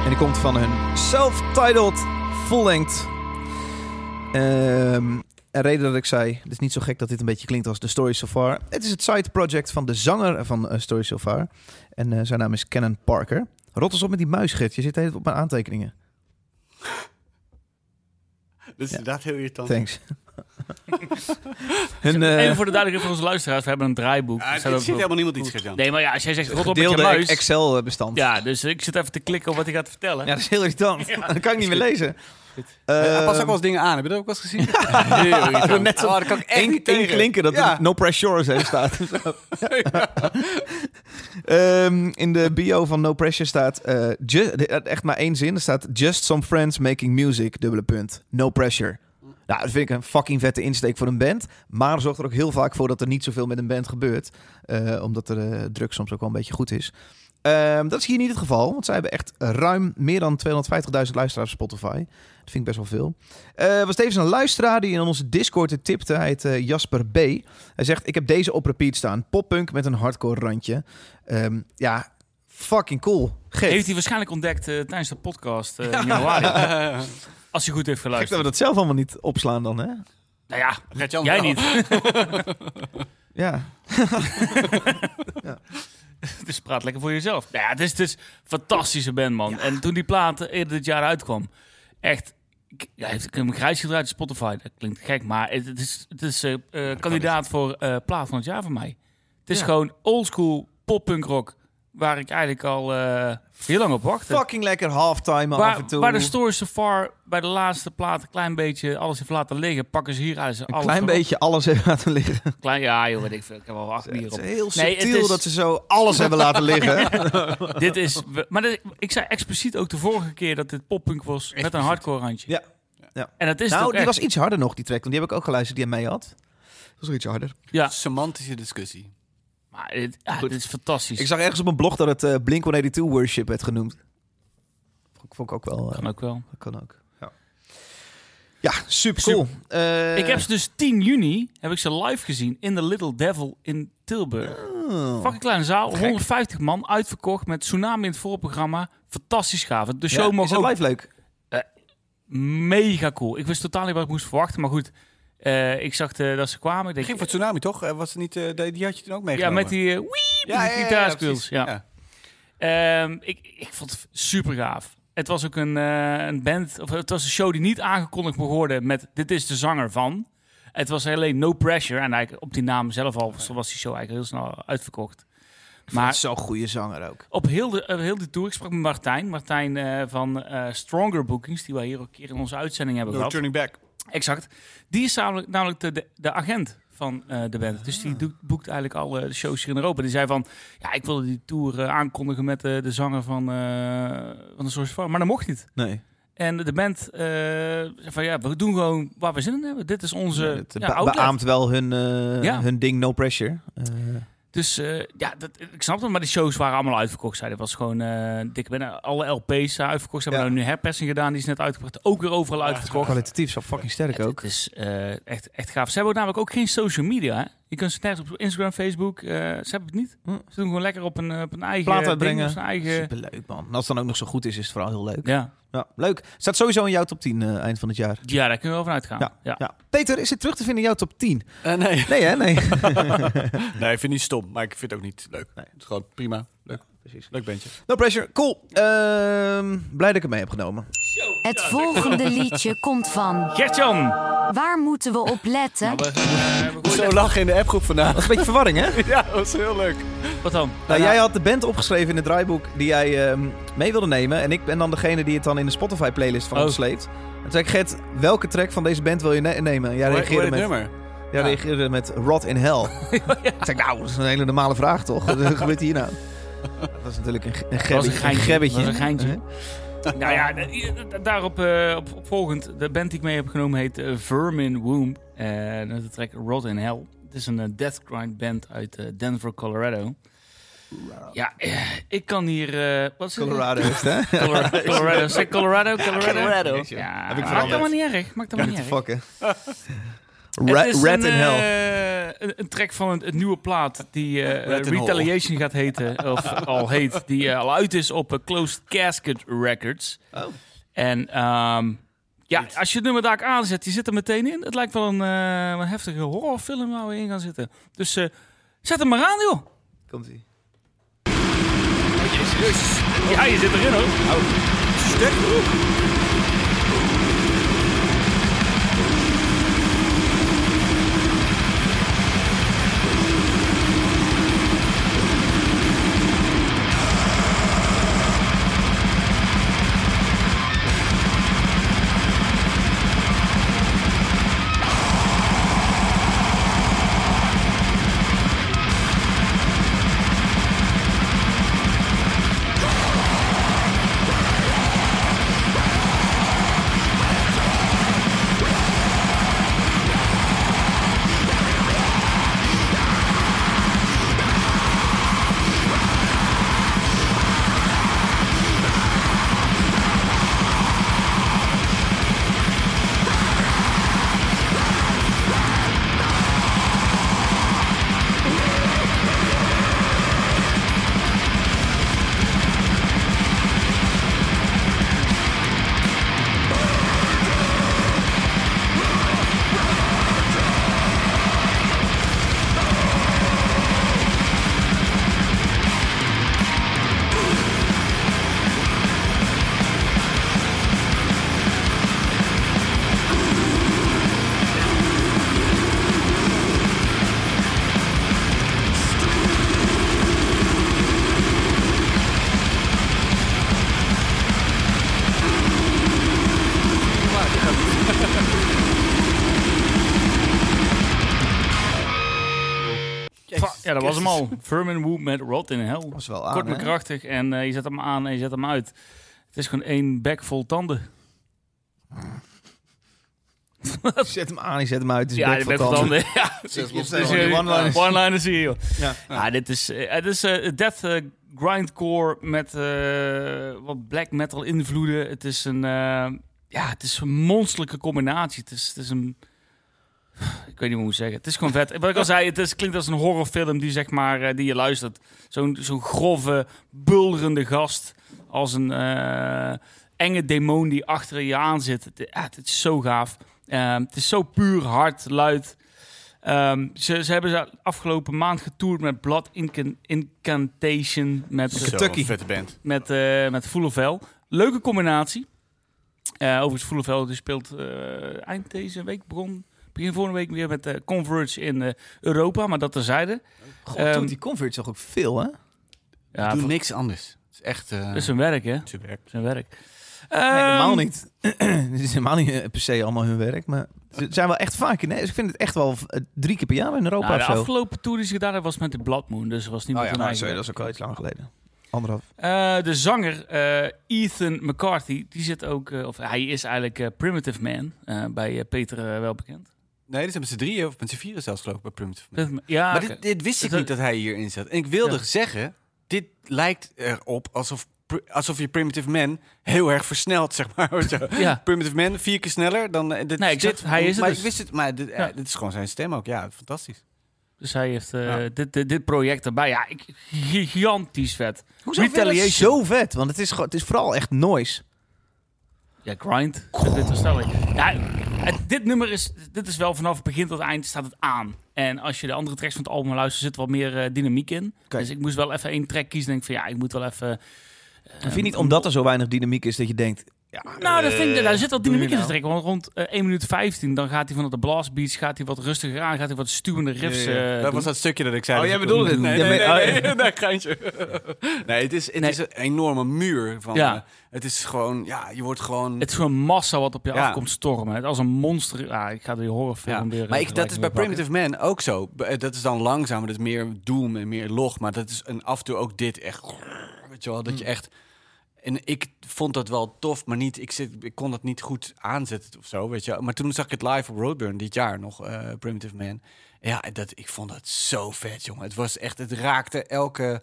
[SPEAKER 2] En die komt van hun self-titled full-length. Ehm en reden dat ik zei, het is niet zo gek dat dit een beetje klinkt als The Story So Far. Het is het side project van de zanger van eh, Story So Far. En eh, zijn naam is Kenan Parker. Rot eens op met die muis, Gert. Je zit de hele tijd op mijn aantekeningen.
[SPEAKER 1] Dat is inderdaad heel irritant.
[SPEAKER 2] Thanks. Hun, eh,
[SPEAKER 4] Even voor de duidelijkheid voor onze luisteraars. We hebben een draaiboek.
[SPEAKER 1] Ah,
[SPEAKER 4] Er
[SPEAKER 1] het
[SPEAKER 4] staat
[SPEAKER 1] zit
[SPEAKER 4] ook wel-
[SPEAKER 1] helemaal niemand iets, Gert-Jan.
[SPEAKER 4] Nee, maar ja, als jij zegt rot op met je
[SPEAKER 2] gedeelde
[SPEAKER 4] muis.
[SPEAKER 2] Excel-bestand.
[SPEAKER 4] Ja, dus ik zit even te klikken op wat hij gaat vertellen.
[SPEAKER 2] Ja, dat is heel irritant. dat kan ik niet meer lezen.
[SPEAKER 1] Eh, hij
[SPEAKER 2] Ehm,
[SPEAKER 1] past ook wel eens dingen aan. Heb je dat ook wel eens gezien? Heel irritant.
[SPEAKER 2] Net zo-
[SPEAKER 1] Oh, dat kan ik echt
[SPEAKER 2] Eén
[SPEAKER 1] niet
[SPEAKER 2] één
[SPEAKER 1] tegen.
[SPEAKER 2] klinker dat
[SPEAKER 1] Ja.
[SPEAKER 2] er no pressure zijn staat. Ehm, in de bio van No Pressure staat eh, ju- de- echt maar één zin. Er staat just some friends making music, dubbele punt. No pressure. Nou, dat vind ik een fucking vette insteek voor een band. Maar zorgt er ook heel vaak voor dat er niet zoveel met een band gebeurt. Eh, omdat de eh, druk soms ook wel een beetje goed is. Ehm, dat is hier niet het geval, want zij hebben echt ruim meer dan 250.000 luisteraars op Spotify. Dat vind ik best wel veel. Eh was tevens een luisteraar die in onze Discord het tipte. Hij heet eh, Jasper B. Hij zegt, ik heb deze op repeat staan. Poppunk met een hardcore randje. Ehm, ja, fucking cool. Geef.
[SPEAKER 4] Heeft hij waarschijnlijk ontdekt eh, tijdens de podcast eh, in januari.
[SPEAKER 1] Eh,
[SPEAKER 4] als hij goed heeft
[SPEAKER 2] Gek dat
[SPEAKER 4] geluisterd.
[SPEAKER 2] we dat zelf allemaal niet opslaan dan, hè?
[SPEAKER 4] Nou ja,
[SPEAKER 1] Gert-Jan
[SPEAKER 4] jij
[SPEAKER 1] wel.
[SPEAKER 4] niet.
[SPEAKER 2] Ja.
[SPEAKER 4] Dus praat lekker voor jezelf. Nou ja, het is dus een fantastische band, man. En toen die plaat eerder dit jaar uitkwam, echt... ik- Ja, heeft ik hem grijs gedraaid op Spotify. Dat klinkt gek, maar het, het is, het is eh, eh, kandidaat voor eh, plaat van het jaar voor mij. Het is gewoon oldschool pop-punk rock, waar ik eigenlijk al eh, heel lang op wachtte.
[SPEAKER 2] Fucking lekker halftime
[SPEAKER 4] waar,
[SPEAKER 2] af en toe.
[SPEAKER 4] waar dus de story so far bij de laatste plaat een klein beetje alles heeft laten liggen, pakken ze hier uit. Ze
[SPEAKER 2] een
[SPEAKER 4] alles
[SPEAKER 2] klein
[SPEAKER 4] erop.
[SPEAKER 2] beetje alles hebben laten liggen.
[SPEAKER 4] Klein, ja, joh, weet ik veel. Ik heb al acht bier
[SPEAKER 2] Het
[SPEAKER 4] op.
[SPEAKER 2] is heel
[SPEAKER 4] Nee, het
[SPEAKER 2] subtiel
[SPEAKER 4] is-
[SPEAKER 2] dat ze zo alles hebben laten liggen.
[SPEAKER 4] dit is. we- Maar dit- ik zei expliciet ook de vorige keer dat dit poppunk was met een hardcore randje.
[SPEAKER 2] Ja. Ja.
[SPEAKER 4] En dat is het
[SPEAKER 2] nou,
[SPEAKER 4] ook
[SPEAKER 2] die
[SPEAKER 4] echt.
[SPEAKER 2] was iets harder nog, die track. Want die heb ik ook geluisterd, die hij mee had. Dat was nog iets harder.
[SPEAKER 4] Ja,
[SPEAKER 1] Semantische discussie.
[SPEAKER 4] maar dit, ah, dit is fantastisch.
[SPEAKER 2] Ik zag ergens op een blog dat het eh, Blink-182 Worship werd genoemd. Vond ik- Vond ik ook wel... eh,
[SPEAKER 4] kan ook wel.
[SPEAKER 2] Dat kan ook. Ja, super cool. Eh,
[SPEAKER 4] ik heb ze dus 10 juni heb ik ze live gezien in de Little Devil in Tilburg.
[SPEAKER 2] Oh.
[SPEAKER 4] Fucking kleine zaal, 150 man, uitverkocht met tsunami in het voorprogramma. Fantastisch gaaf. De show mocht
[SPEAKER 2] is het
[SPEAKER 4] ook
[SPEAKER 2] live leuk.
[SPEAKER 4] mega cool. Ik wist totaal niet wat ik moest verwachten, maar goed. eh, ik zag eh, dat ze kwamen. Ik
[SPEAKER 1] Het
[SPEAKER 4] denk,
[SPEAKER 1] ging voor Tsunami, toch? Eh, Was het niet, eh, die die had je toen ook
[SPEAKER 4] ja,
[SPEAKER 1] meegenomen?
[SPEAKER 4] met die eh, wiep,
[SPEAKER 1] ja, ja, ja,
[SPEAKER 4] gitaarspeels.
[SPEAKER 1] precies.
[SPEAKER 4] Ja.
[SPEAKER 1] Ja.
[SPEAKER 4] Ehm, ik, ik vond het super gaaf. Het was ook een, eh, een band, of het was een show die niet aangekondigd mocht worden met dit is de zanger van. Het was alleen No Pressure en eigenlijk op die naam zelf al was was die show eigenlijk heel snel uitverkocht. Maar
[SPEAKER 2] Zo'n goede zanger ook.
[SPEAKER 4] op heel de, op heel de tour, ik sprak met Martijn, Martijn eh, van eh, Stronger Bookings, die wij hier ook een keer in onze uitzending hebben
[SPEAKER 1] No
[SPEAKER 4] gehad.
[SPEAKER 1] Turning Back.
[SPEAKER 4] Exact. Die is namelijk, namelijk de, de, de agent van eh, de band. Dus die doet- boekt eigenlijk alle shows hier in Europa. Die zei van, ja, ik wilde die tour eh, aankondigen met eh, de zanger van, eh, van de Source Farm. Maar dat mocht niet.
[SPEAKER 2] Nee.
[SPEAKER 4] En de band eh, zei van, ja, we doen gewoon waar we zin in hebben. Dit is onze
[SPEAKER 2] Ja, het
[SPEAKER 4] ja,
[SPEAKER 2] be-
[SPEAKER 4] outlet.
[SPEAKER 2] beaamt wel hun, eh,
[SPEAKER 4] Ja.
[SPEAKER 2] hun ding No Pressure. Eh,
[SPEAKER 4] Dus eh, ja, dat, ik snap het. Maar die shows waren allemaal uitverkocht. Zei. Dat was gewoon eh dikke binnen. Alle LP's zijn uitverkocht. Ze hebben
[SPEAKER 2] Ja.
[SPEAKER 4] nou nu herpersing gedaan. Die is net uitgebracht. Ook weer overal uitverkocht.
[SPEAKER 2] kwalitatief zo fucking sterk
[SPEAKER 4] Het-
[SPEAKER 2] ook.
[SPEAKER 4] Het is eh, echt, echt gaaf. Ze hebben ook namelijk ook geen social media. Hè? Je kunt ze nergens op Instagram, Facebook. eh, ze hebben het niet.
[SPEAKER 2] Hm.
[SPEAKER 4] Ze doen gewoon lekker op een, eh, op een eigen
[SPEAKER 2] Plaat
[SPEAKER 4] ding,
[SPEAKER 2] uitbrengen.
[SPEAKER 4] op zijn eigen...
[SPEAKER 2] Superleuk man. En als het dan ook nog zo goed is, is het vooral heel leuk. Ja.
[SPEAKER 4] Ja.
[SPEAKER 2] leuk. Staat sowieso in jouw top 10 eh, eind van het jaar.
[SPEAKER 4] ja, daar kunnen we wel van uitgaan. Ja.
[SPEAKER 2] Ja. Ja. Peter, is het terug te vinden in jouw top 10?
[SPEAKER 1] Eh, nee.
[SPEAKER 2] Nee hè? Nee.
[SPEAKER 1] nee, ik vind het niet stom, maar ik vind het ook niet leuk.
[SPEAKER 2] Nee.
[SPEAKER 1] Het is gewoon prima. Leuk.
[SPEAKER 2] precies.
[SPEAKER 1] Leuk bandje.
[SPEAKER 2] no Pressure, cool. Ehm, blij dat ik het mee heb genomen.
[SPEAKER 6] Het volgende liedje komt van.
[SPEAKER 4] Gert-Jan!
[SPEAKER 6] Waar moeten we op letten?
[SPEAKER 4] We- we- we-
[SPEAKER 1] Zo lachen in de appgroep vandaag.
[SPEAKER 2] Dat is een beetje verwarring hè?
[SPEAKER 1] Ja, dat was heel leuk.
[SPEAKER 4] Wat dan?
[SPEAKER 2] Nou, jij had de band opgeschreven in het draaiboek die jij ehm, mee wilde nemen. En ik ben dan degene die het dan in de Spotify-playlist van
[SPEAKER 4] Oh.
[SPEAKER 2] ons sleept. En toen zei ik, Gert, welke track van deze band wil je ne- nemen? En jij
[SPEAKER 1] Hoe- hoe
[SPEAKER 2] reageerde,
[SPEAKER 1] heet het
[SPEAKER 2] met,
[SPEAKER 1] nummer?
[SPEAKER 2] jij
[SPEAKER 1] Ja.
[SPEAKER 2] reageerde met Rot in Hell. Ik zei, nou, dat is een hele normale vraag toch? Wat gebeurt hier nou? Dat was natuurlijk een, ge- een,
[SPEAKER 4] was een
[SPEAKER 2] gebbetje,
[SPEAKER 4] geintje.
[SPEAKER 2] gebbetje.
[SPEAKER 4] Dat was een geintje.
[SPEAKER 2] Hè?
[SPEAKER 4] Nou ja, d- d- daarop eh, op, op volgend. De band die ik mee heb genomen heet eh, Vermin Womb. Eh, En de track Rot in Hell. Het is een eh, deathgrind band uit eh, Denver, Colorado. Ja, eh, ik kan hier... eh, wat is het?
[SPEAKER 2] Colorado is het, hè?
[SPEAKER 4] Colorado. Colorado. Zeg Colorado, Colorado.
[SPEAKER 2] Colorado.
[SPEAKER 4] Ja,
[SPEAKER 2] Heb ik
[SPEAKER 4] maakt
[SPEAKER 2] veranderd.
[SPEAKER 4] allemaal niet erg. Maakt
[SPEAKER 2] Ja,
[SPEAKER 4] allemaal
[SPEAKER 2] niet te
[SPEAKER 4] niet erg.
[SPEAKER 2] fucken.
[SPEAKER 4] Het
[SPEAKER 2] Rat,
[SPEAKER 4] is
[SPEAKER 2] rat
[SPEAKER 4] een,
[SPEAKER 2] in Hell.
[SPEAKER 4] eh, een, een track van het, het nieuwe plaat die eh,
[SPEAKER 1] Rat in
[SPEAKER 4] Retaliation gaat heten, of al heet, die eh, al uit is op eh, Closed Casket Records.
[SPEAKER 2] Oh.
[SPEAKER 4] En ehm, ja, als je het nummer daar aanzet, die zit er meteen in. Het lijkt wel een, eh, een heftige horrorfilm waar we in gaan zitten. Dus eh, zet hem maar aan, joh.
[SPEAKER 2] Komt ie.
[SPEAKER 4] Ja, je zit erin, hoor. Ja, dat was hem al. Vermin Woo met Rot in Hell.
[SPEAKER 2] Was wel aan,
[SPEAKER 4] Kort maar
[SPEAKER 2] hè?
[SPEAKER 4] krachtig. En eh, je zet hem aan en je zet hem uit. Het is gewoon één bek vol tanden.
[SPEAKER 2] Zet hem aan, ik zet hem uit. Het is
[SPEAKER 4] ja,
[SPEAKER 2] bek
[SPEAKER 4] die
[SPEAKER 2] van
[SPEAKER 4] bek vol
[SPEAKER 2] tanden.
[SPEAKER 4] tanden. Ja, Dus, eh,
[SPEAKER 2] one-liners.
[SPEAKER 4] one-liners zie je, joh.
[SPEAKER 2] Ja.
[SPEAKER 4] Ja, dit is, eh, het is eh, death eh, grindcore met eh, wat black metal invloeden. Het is een, eh, ja, het is een monsterlijke combinatie. Het is, het is een, ik weet niet hoe ik moet zeggen. Het is gewoon vet. Wat ik al zei, het is, klinkt als een horrorfilm die zeg maar, eh, die je luistert. Zo'n zo'n grove, bulderende gast als een eh, enge demon die achter je aan zit. Het, ja, het is zo gaaf. Eh, het is zo puur, hard, luid. Ehm, ze, ze hebben ze afgelopen maand getoerd met Blood Incan- Incantation, met,
[SPEAKER 2] Kentucky.
[SPEAKER 1] vette band.
[SPEAKER 4] met, eh met Full of Hell. Leuke combinatie. Eh overigens, Full of Hell die speelt eh, eind deze week, begon begin vorige week weer met eh, Converge in eh, Europa, maar dat terzijde.
[SPEAKER 2] God,
[SPEAKER 4] Ehm,
[SPEAKER 2] doet die convert toch ook veel, hè?
[SPEAKER 4] Ja,
[SPEAKER 1] Doe
[SPEAKER 4] dat
[SPEAKER 1] niks anders. Het is echt... eh
[SPEAKER 4] is zijn werk, hè?
[SPEAKER 1] zijn werk.
[SPEAKER 4] Zijn werk.
[SPEAKER 2] Nee, helemaal
[SPEAKER 4] Ehm,
[SPEAKER 2] niet. Het is helemaal niet eh, per se allemaal hun werk, maar ze zijn wel echt vaak in. hè? Dus ik vind het echt wel eh, drie keer per jaar in Europa
[SPEAKER 4] nou,
[SPEAKER 2] of
[SPEAKER 4] de
[SPEAKER 2] zo.
[SPEAKER 4] afgelopen tour die ze gedaan hebben was met de Blood Moon, dus er was niet
[SPEAKER 2] Oh
[SPEAKER 4] meer
[SPEAKER 2] ja,
[SPEAKER 4] van
[SPEAKER 2] nou,
[SPEAKER 4] eigen
[SPEAKER 2] sorry,
[SPEAKER 4] werk.
[SPEAKER 2] dat is ook wel iets lang geleden. Anderhalf.
[SPEAKER 4] Eh, de zanger eh, Ethan McCarthy, die zit ook, eh, of hij is eigenlijk eh, Primitive Man, eh, bij eh, Peter eh, wel bekend.
[SPEAKER 1] Nee, dit zijn met z'n drieën of met z'n vieren zelfs geloof ik bij Primitive. Man.
[SPEAKER 4] Primitive Man- Ja,
[SPEAKER 1] Maar
[SPEAKER 4] Ah, oké. Dus
[SPEAKER 1] dit, dit wist ik
[SPEAKER 4] Dat-
[SPEAKER 1] niet dat hij hierin zat. En ik wilde
[SPEAKER 4] Ja.
[SPEAKER 1] zeggen, dit lijkt erop alsof, pr- alsof je Primitive Man heel erg versnelt, zeg maar. Zo.
[SPEAKER 4] ja.
[SPEAKER 1] Primitive Man, vier keer sneller dan eh, dit.
[SPEAKER 4] Nee, exact.
[SPEAKER 1] dit,
[SPEAKER 4] Hij is het
[SPEAKER 1] maar
[SPEAKER 4] dus.
[SPEAKER 1] ik wist het, maar dit, eh,
[SPEAKER 4] Ja.
[SPEAKER 1] dit is gewoon zijn stem ook. Ja, fantastisch.
[SPEAKER 4] Dus hij heeft eh,
[SPEAKER 1] Ja.
[SPEAKER 4] dit, dit, dit project erbij. Ja, ik, gigantisch vet.
[SPEAKER 2] Hoezo
[SPEAKER 4] Retaliation.
[SPEAKER 2] Zo vet, want het is, gewoon- het is vooral echt noise.
[SPEAKER 4] Ja, grind. Dat Dit was wel een- Ja, het- dit nummer is, dit is wel vanaf begin tot eind staat het aan. En als je de andere tracks van het album luistert, zit er wat meer eh, dynamiek in.
[SPEAKER 2] Oké.
[SPEAKER 4] Dus ik moest wel even één track kiezen. Denk van ja, ik moet wel even.
[SPEAKER 1] Eh,
[SPEAKER 2] vind je niet omdat er zo weinig dynamiek is dat je denkt... Ja,
[SPEAKER 4] Nou, dat vind ik, daar zit wel dynamiek in te
[SPEAKER 2] nou?
[SPEAKER 4] trekken. Want rond eh, 1 minuut 15, dan gaat hij vanuit de blast beats, gaat hij wat rustiger aan, gaat hij wat stuwende riffs. eh
[SPEAKER 1] dat
[SPEAKER 4] doen.
[SPEAKER 1] was dat stukje dat ik zei.
[SPEAKER 2] Oh,
[SPEAKER 1] dat
[SPEAKER 2] jij
[SPEAKER 1] ik-
[SPEAKER 2] bedoelde dit.
[SPEAKER 1] Nee,
[SPEAKER 2] Ja,
[SPEAKER 1] nee, nee,
[SPEAKER 2] maar-
[SPEAKER 1] nee,
[SPEAKER 2] oh, ja.
[SPEAKER 1] nee, geintje. Nee, het is, het
[SPEAKER 4] Nee.
[SPEAKER 1] is een enorme muur. Van,
[SPEAKER 4] Ja.
[SPEAKER 1] eh, het is gewoon, ja, je wordt gewoon...
[SPEAKER 4] Het is gewoon massa wat op je
[SPEAKER 1] Ja.
[SPEAKER 4] afkomt stormen. Het als een monster. Ah, ik ga die horrorfilm
[SPEAKER 1] Ja,
[SPEAKER 4] weer. eh,
[SPEAKER 1] maar ik, dat is bij
[SPEAKER 4] vergelijking mee pakken.
[SPEAKER 1] Primitive Man ook zo. B- eh, Dat is dan langzamer, dat is meer doom en meer log. Maar dat is een, af en toe ook dit echt... Weet je wel, dat je echt... En ik vond dat wel tof, maar niet, ik, zit, ik kon dat niet goed aanzetten of zo, weet je wel. Maar toen zag ik het live op Roadburn dit jaar nog, eh, Primitive Man. Ja, dat, ik vond dat zo vet, jongen. Het was echt, het raakte elke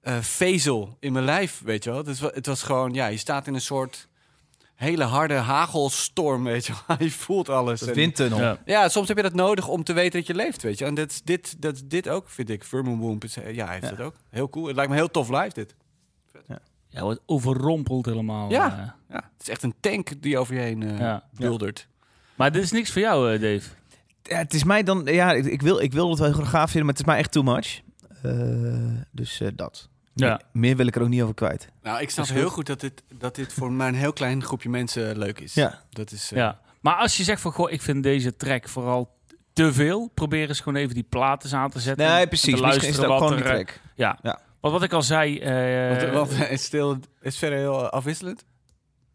[SPEAKER 1] eh, vezel in mijn lijf, weet je wel. Het was, het was gewoon, ja, je staat in een soort hele harde hagelstorm, weet je wel. Je voelt alles.
[SPEAKER 2] Dat
[SPEAKER 1] En-
[SPEAKER 2] windtunnel.
[SPEAKER 4] Ja.
[SPEAKER 1] ja, soms heb je dat nodig om te weten dat je leeft, weet je. En dat is dit, dat, is dit ook, vind ik. Vermin Womp, is- ja, hij heeft dat ook. Heel cool. Het lijkt me heel tof live, dit.
[SPEAKER 4] Ja, wordt overrompeld helemaal.
[SPEAKER 1] Ja.
[SPEAKER 4] eh.
[SPEAKER 1] Ja, het is echt een tank die over je heen eh,
[SPEAKER 4] Ja.
[SPEAKER 1] buldert.
[SPEAKER 4] Maar dit is niks voor jou, eh, Dave.
[SPEAKER 2] Ja, het is mij dan... Ja, ik, ik wil, ik wil het wel heel gaaf vinden, maar het is mij echt too much. Eh, dus eh, dat.
[SPEAKER 4] Ja.
[SPEAKER 2] Meer wil ik er ook niet over kwijt.
[SPEAKER 1] Nou, ik snap
[SPEAKER 4] Dat is
[SPEAKER 1] heel
[SPEAKER 4] goed.
[SPEAKER 1] goed dat dit, dat dit voor maar een heel klein groepje mensen leuk is.
[SPEAKER 2] Ja.
[SPEAKER 1] Dat is, eh,
[SPEAKER 4] Ja. Maar als je zegt van, goh, ik vind deze track vooral te veel. Probeer eens gewoon even die platen aan te zetten.
[SPEAKER 2] Nee,
[SPEAKER 4] en
[SPEAKER 2] precies.
[SPEAKER 4] te
[SPEAKER 2] Misschien is
[SPEAKER 4] luisteren
[SPEAKER 2] het ook
[SPEAKER 4] wat
[SPEAKER 2] gewoon die
[SPEAKER 4] er, eh,
[SPEAKER 2] track.
[SPEAKER 4] Ja.
[SPEAKER 2] Ja.
[SPEAKER 4] Want wat ik al zei... eh,
[SPEAKER 1] Want, want het is stil, is verder heel eh, afwisselend.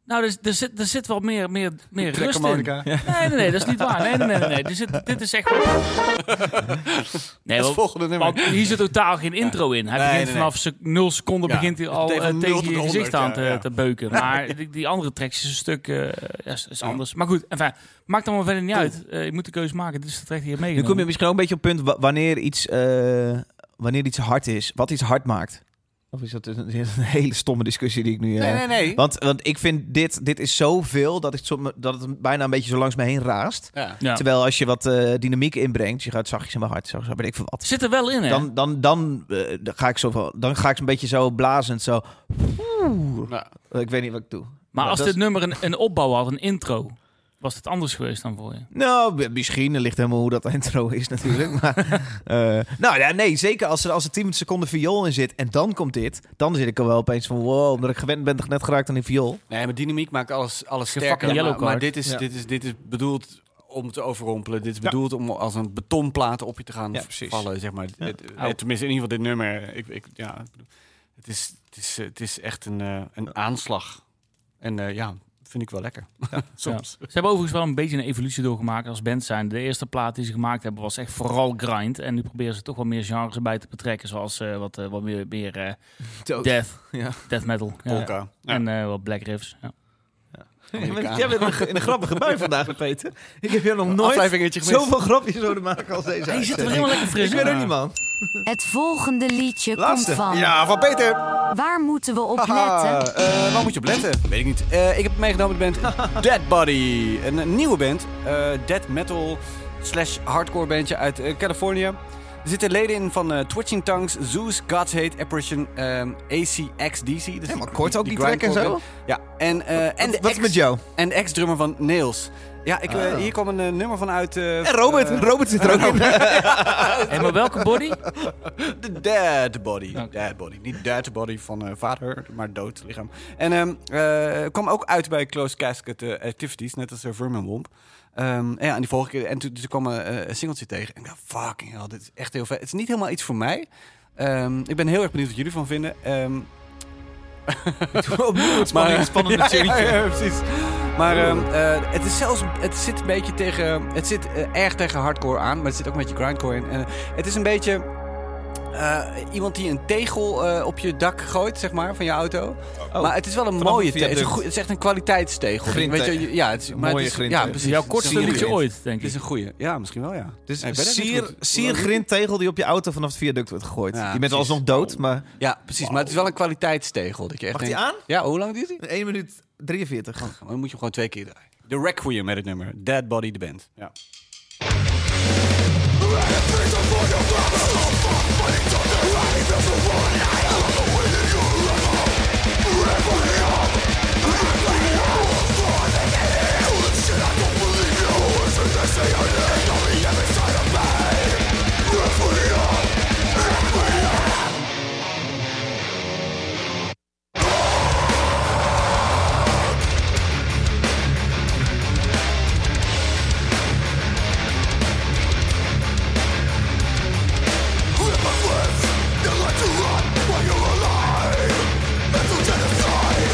[SPEAKER 4] nou, er, er, zit, er zit wel meer, meer, meer rust in. Nee,
[SPEAKER 1] Trekharmonica.
[SPEAKER 4] nee, nee, dat is niet waar. Nee, nee, nee. nee, nee. Er zit- dit is echt... Nee,
[SPEAKER 1] Dat is het
[SPEAKER 4] want,
[SPEAKER 1] volgende nummer.
[SPEAKER 4] want hier zit totaal geen intro in. Hij
[SPEAKER 1] Nee,
[SPEAKER 4] begint
[SPEAKER 1] nee, nee.
[SPEAKER 4] vanaf sec- nul seconden
[SPEAKER 1] Ja.
[SPEAKER 4] begint hij
[SPEAKER 1] Het
[SPEAKER 4] al
[SPEAKER 1] meteen
[SPEAKER 4] eh,
[SPEAKER 1] van nul
[SPEAKER 4] tegen
[SPEAKER 1] tot
[SPEAKER 4] je
[SPEAKER 1] 100,
[SPEAKER 4] gezicht aan te,
[SPEAKER 1] ja, ja.
[SPEAKER 4] te beuken. Maar die, die andere tracks is een stuk eh, ja, is, is
[SPEAKER 1] Ja.
[SPEAKER 4] anders. Maar goed, enfin, maakt allemaal verder niet uit. Eh, je moet de keuze maken. Dit is de track die je
[SPEAKER 2] Nu kom
[SPEAKER 4] meegenomen.
[SPEAKER 2] je misschien ook een beetje op het punt wa- wanneer iets, eh, wanneer iets hard is. Wat iets hard maakt. Of is dat een, een hele stomme discussie die ik nu... eh,
[SPEAKER 1] Nee, nee, nee.
[SPEAKER 2] Want, want ik vind dit, dit is zoveel dat, ik som- dat het bijna een beetje zo langs me heen raast.
[SPEAKER 1] Ja.
[SPEAKER 4] Ja.
[SPEAKER 2] Terwijl als je wat eh, dynamiek inbrengt, je gaat zachtjes en maar hard, zo, zo weet ik veel wat.
[SPEAKER 4] Zit er wel in, hè?
[SPEAKER 2] Dan, dan, dan, eh, dan ga ik zo, van- dan ga ik een beetje zo blazend, zo.
[SPEAKER 1] Nou,
[SPEAKER 2] Ik weet niet wat ik doe.
[SPEAKER 4] maar
[SPEAKER 2] Ja,
[SPEAKER 4] als
[SPEAKER 2] dat
[SPEAKER 4] dit
[SPEAKER 2] is-
[SPEAKER 4] nummer een, een opbouw had, een intro, was het anders geweest dan voor je?
[SPEAKER 2] Nou, b- misschien er ligt helemaal hoe dat intro is natuurlijk. maar, eh, nou ja, nee, zeker als er, als er 10 seconden viool in zit en dan komt dit, dan zit ik er wel opeens van wow, omdat ik gewend ben net geraakt aan die viool.
[SPEAKER 1] nee, maar dynamiek maakt alles, alles
[SPEAKER 4] Geen
[SPEAKER 1] sterker.
[SPEAKER 4] fucking
[SPEAKER 1] maar
[SPEAKER 4] yellow
[SPEAKER 1] maar
[SPEAKER 4] card.
[SPEAKER 1] dit, is,
[SPEAKER 2] Ja.
[SPEAKER 1] dit, is, dit is bedoeld om te overrompelen. Dit is bedoeld om als een betonplaat op je te gaan
[SPEAKER 2] Ja, precies.
[SPEAKER 1] vallen, zeg maar.
[SPEAKER 2] Ja.
[SPEAKER 1] Het- het-
[SPEAKER 4] Au.
[SPEAKER 1] tenminste, in ieder geval dit nummer. Ik, ik, ja, ik bedoel, het, is, het, is, eh, het is echt een, eh, een aanslag. En eh, ja, vind ik wel lekker. Soms.
[SPEAKER 4] Ze hebben overigens wel een beetje een evolutie doorgemaakt als band zijn. De eerste plaat die ze gemaakt hebben was echt vooral grind. En nu proberen ze toch wel meer genres erbij te betrekken. Zoals eh, wat, eh, wat meer, meer eh, death,
[SPEAKER 2] Ja.
[SPEAKER 4] death metal. Ja.
[SPEAKER 1] Polka. Ja.
[SPEAKER 4] En eh, wat black riffs. Ja.
[SPEAKER 1] Amerikanen.
[SPEAKER 2] Jij bent in een- in een grappige bui vandaag, Peter. Ik heb jou nog nooit
[SPEAKER 1] Afleveringetje gemist.
[SPEAKER 2] zoveel grapjes horen maken als deze
[SPEAKER 4] Hey, je zit er
[SPEAKER 2] uitzending.
[SPEAKER 4] helemaal lekker
[SPEAKER 1] dus
[SPEAKER 4] fris
[SPEAKER 2] Ik weet
[SPEAKER 4] in.
[SPEAKER 2] ook niet, man.
[SPEAKER 6] Het volgende liedje
[SPEAKER 2] Laatste.
[SPEAKER 6] komt van.
[SPEAKER 1] Ja, van Peter.
[SPEAKER 6] Waar moeten we op
[SPEAKER 1] Haha,
[SPEAKER 6] letten?
[SPEAKER 1] eh, waar moet je op letten? Weet ik niet. Eh, ik heb meegenomen de band Dead Body. Een, eh, nieuwe band. eh dead metal slash hardcore bandje uit eh, Californië. Er zitten leden in van eh, Twitching Tongues, Zeus, God's Hate, Apparition, ehm ACXDC. Dus
[SPEAKER 2] Helemaal kort ook die track en
[SPEAKER 1] grindcore
[SPEAKER 2] zo?
[SPEAKER 1] band. Ja, en, eh, en de
[SPEAKER 2] Wat is
[SPEAKER 1] ex-
[SPEAKER 2] met jou? Ah.
[SPEAKER 1] En de ex-drummer van Nails. Ja, ik, eh, hier kwam een eh, nummer van uit... eh,
[SPEAKER 2] En Robert.
[SPEAKER 1] eh,
[SPEAKER 2] Robert zit er ook in.
[SPEAKER 4] Hey, maar welke body?
[SPEAKER 1] De dead body.
[SPEAKER 4] Oké.
[SPEAKER 1] Dead body. Niet dead body van eh, vader, maar dood lichaam. En ehm eh, kwam ook uit bij Closed Casket eh, Activities, net als eh, Vermin Womp. Ehm, en ja, en die vorige keer. En toen, toen kwam eh, eh, een singeltje tegen. En ik dacht, fucking hell, dit is echt heel vet. Het is niet helemaal iets voor mij. Ehm, ik ben heel erg benieuwd wat jullie van vinden. Ehm
[SPEAKER 2] Opnieuw het
[SPEAKER 1] eh,
[SPEAKER 2] spannende
[SPEAKER 1] ja, ja,
[SPEAKER 2] serie.
[SPEAKER 1] ja, precies. Maar ehm, eh, het is zelfs, het zit een beetje tegen, het zit eh, erg tegen hardcore aan, maar het zit ook een beetje grindcore in. En, eh, het is een beetje eh, iemand die een tegel eh, op je dak gooit, zeg maar, van je auto. maar het is wel een
[SPEAKER 2] Oh. vanaf
[SPEAKER 1] mooie
[SPEAKER 2] een
[SPEAKER 1] tegel. Het is, een
[SPEAKER 2] viaduct.
[SPEAKER 1] goe- het is echt een kwaliteitstegel.
[SPEAKER 2] Grindtegel.
[SPEAKER 1] Weet je, ja, het is, maar
[SPEAKER 2] mooie
[SPEAKER 1] het is, ja,
[SPEAKER 2] grindtegel.
[SPEAKER 1] precies.
[SPEAKER 4] Jouw kortste
[SPEAKER 1] Het is een
[SPEAKER 4] liedje
[SPEAKER 1] goeie.
[SPEAKER 4] ooit, denk
[SPEAKER 1] Het is
[SPEAKER 4] ik.
[SPEAKER 1] een goeie. Ja, misschien wel, ja.
[SPEAKER 2] Dus
[SPEAKER 1] Nee, ik
[SPEAKER 2] een
[SPEAKER 1] weet het niet
[SPEAKER 2] sier,
[SPEAKER 1] goed.
[SPEAKER 2] sier grindtegel die op je auto vanaf het viaduct wordt gegooid.
[SPEAKER 1] Ja,
[SPEAKER 2] die bent
[SPEAKER 1] precies. Oh.
[SPEAKER 2] alsnog dood, maar...
[SPEAKER 1] Ja, precies. Maar het is wel een kwaliteitstegel. Dat je echt
[SPEAKER 2] Mag die
[SPEAKER 1] denkt-
[SPEAKER 2] aan?
[SPEAKER 1] Ja, hoe lang duurt die? Oh,
[SPEAKER 2] 1 minuut 43.
[SPEAKER 1] Dan moet je hem gewoon twee keer draaien. The Requiem met het nummer. Dead Body, de band. Ja.
[SPEAKER 3] Let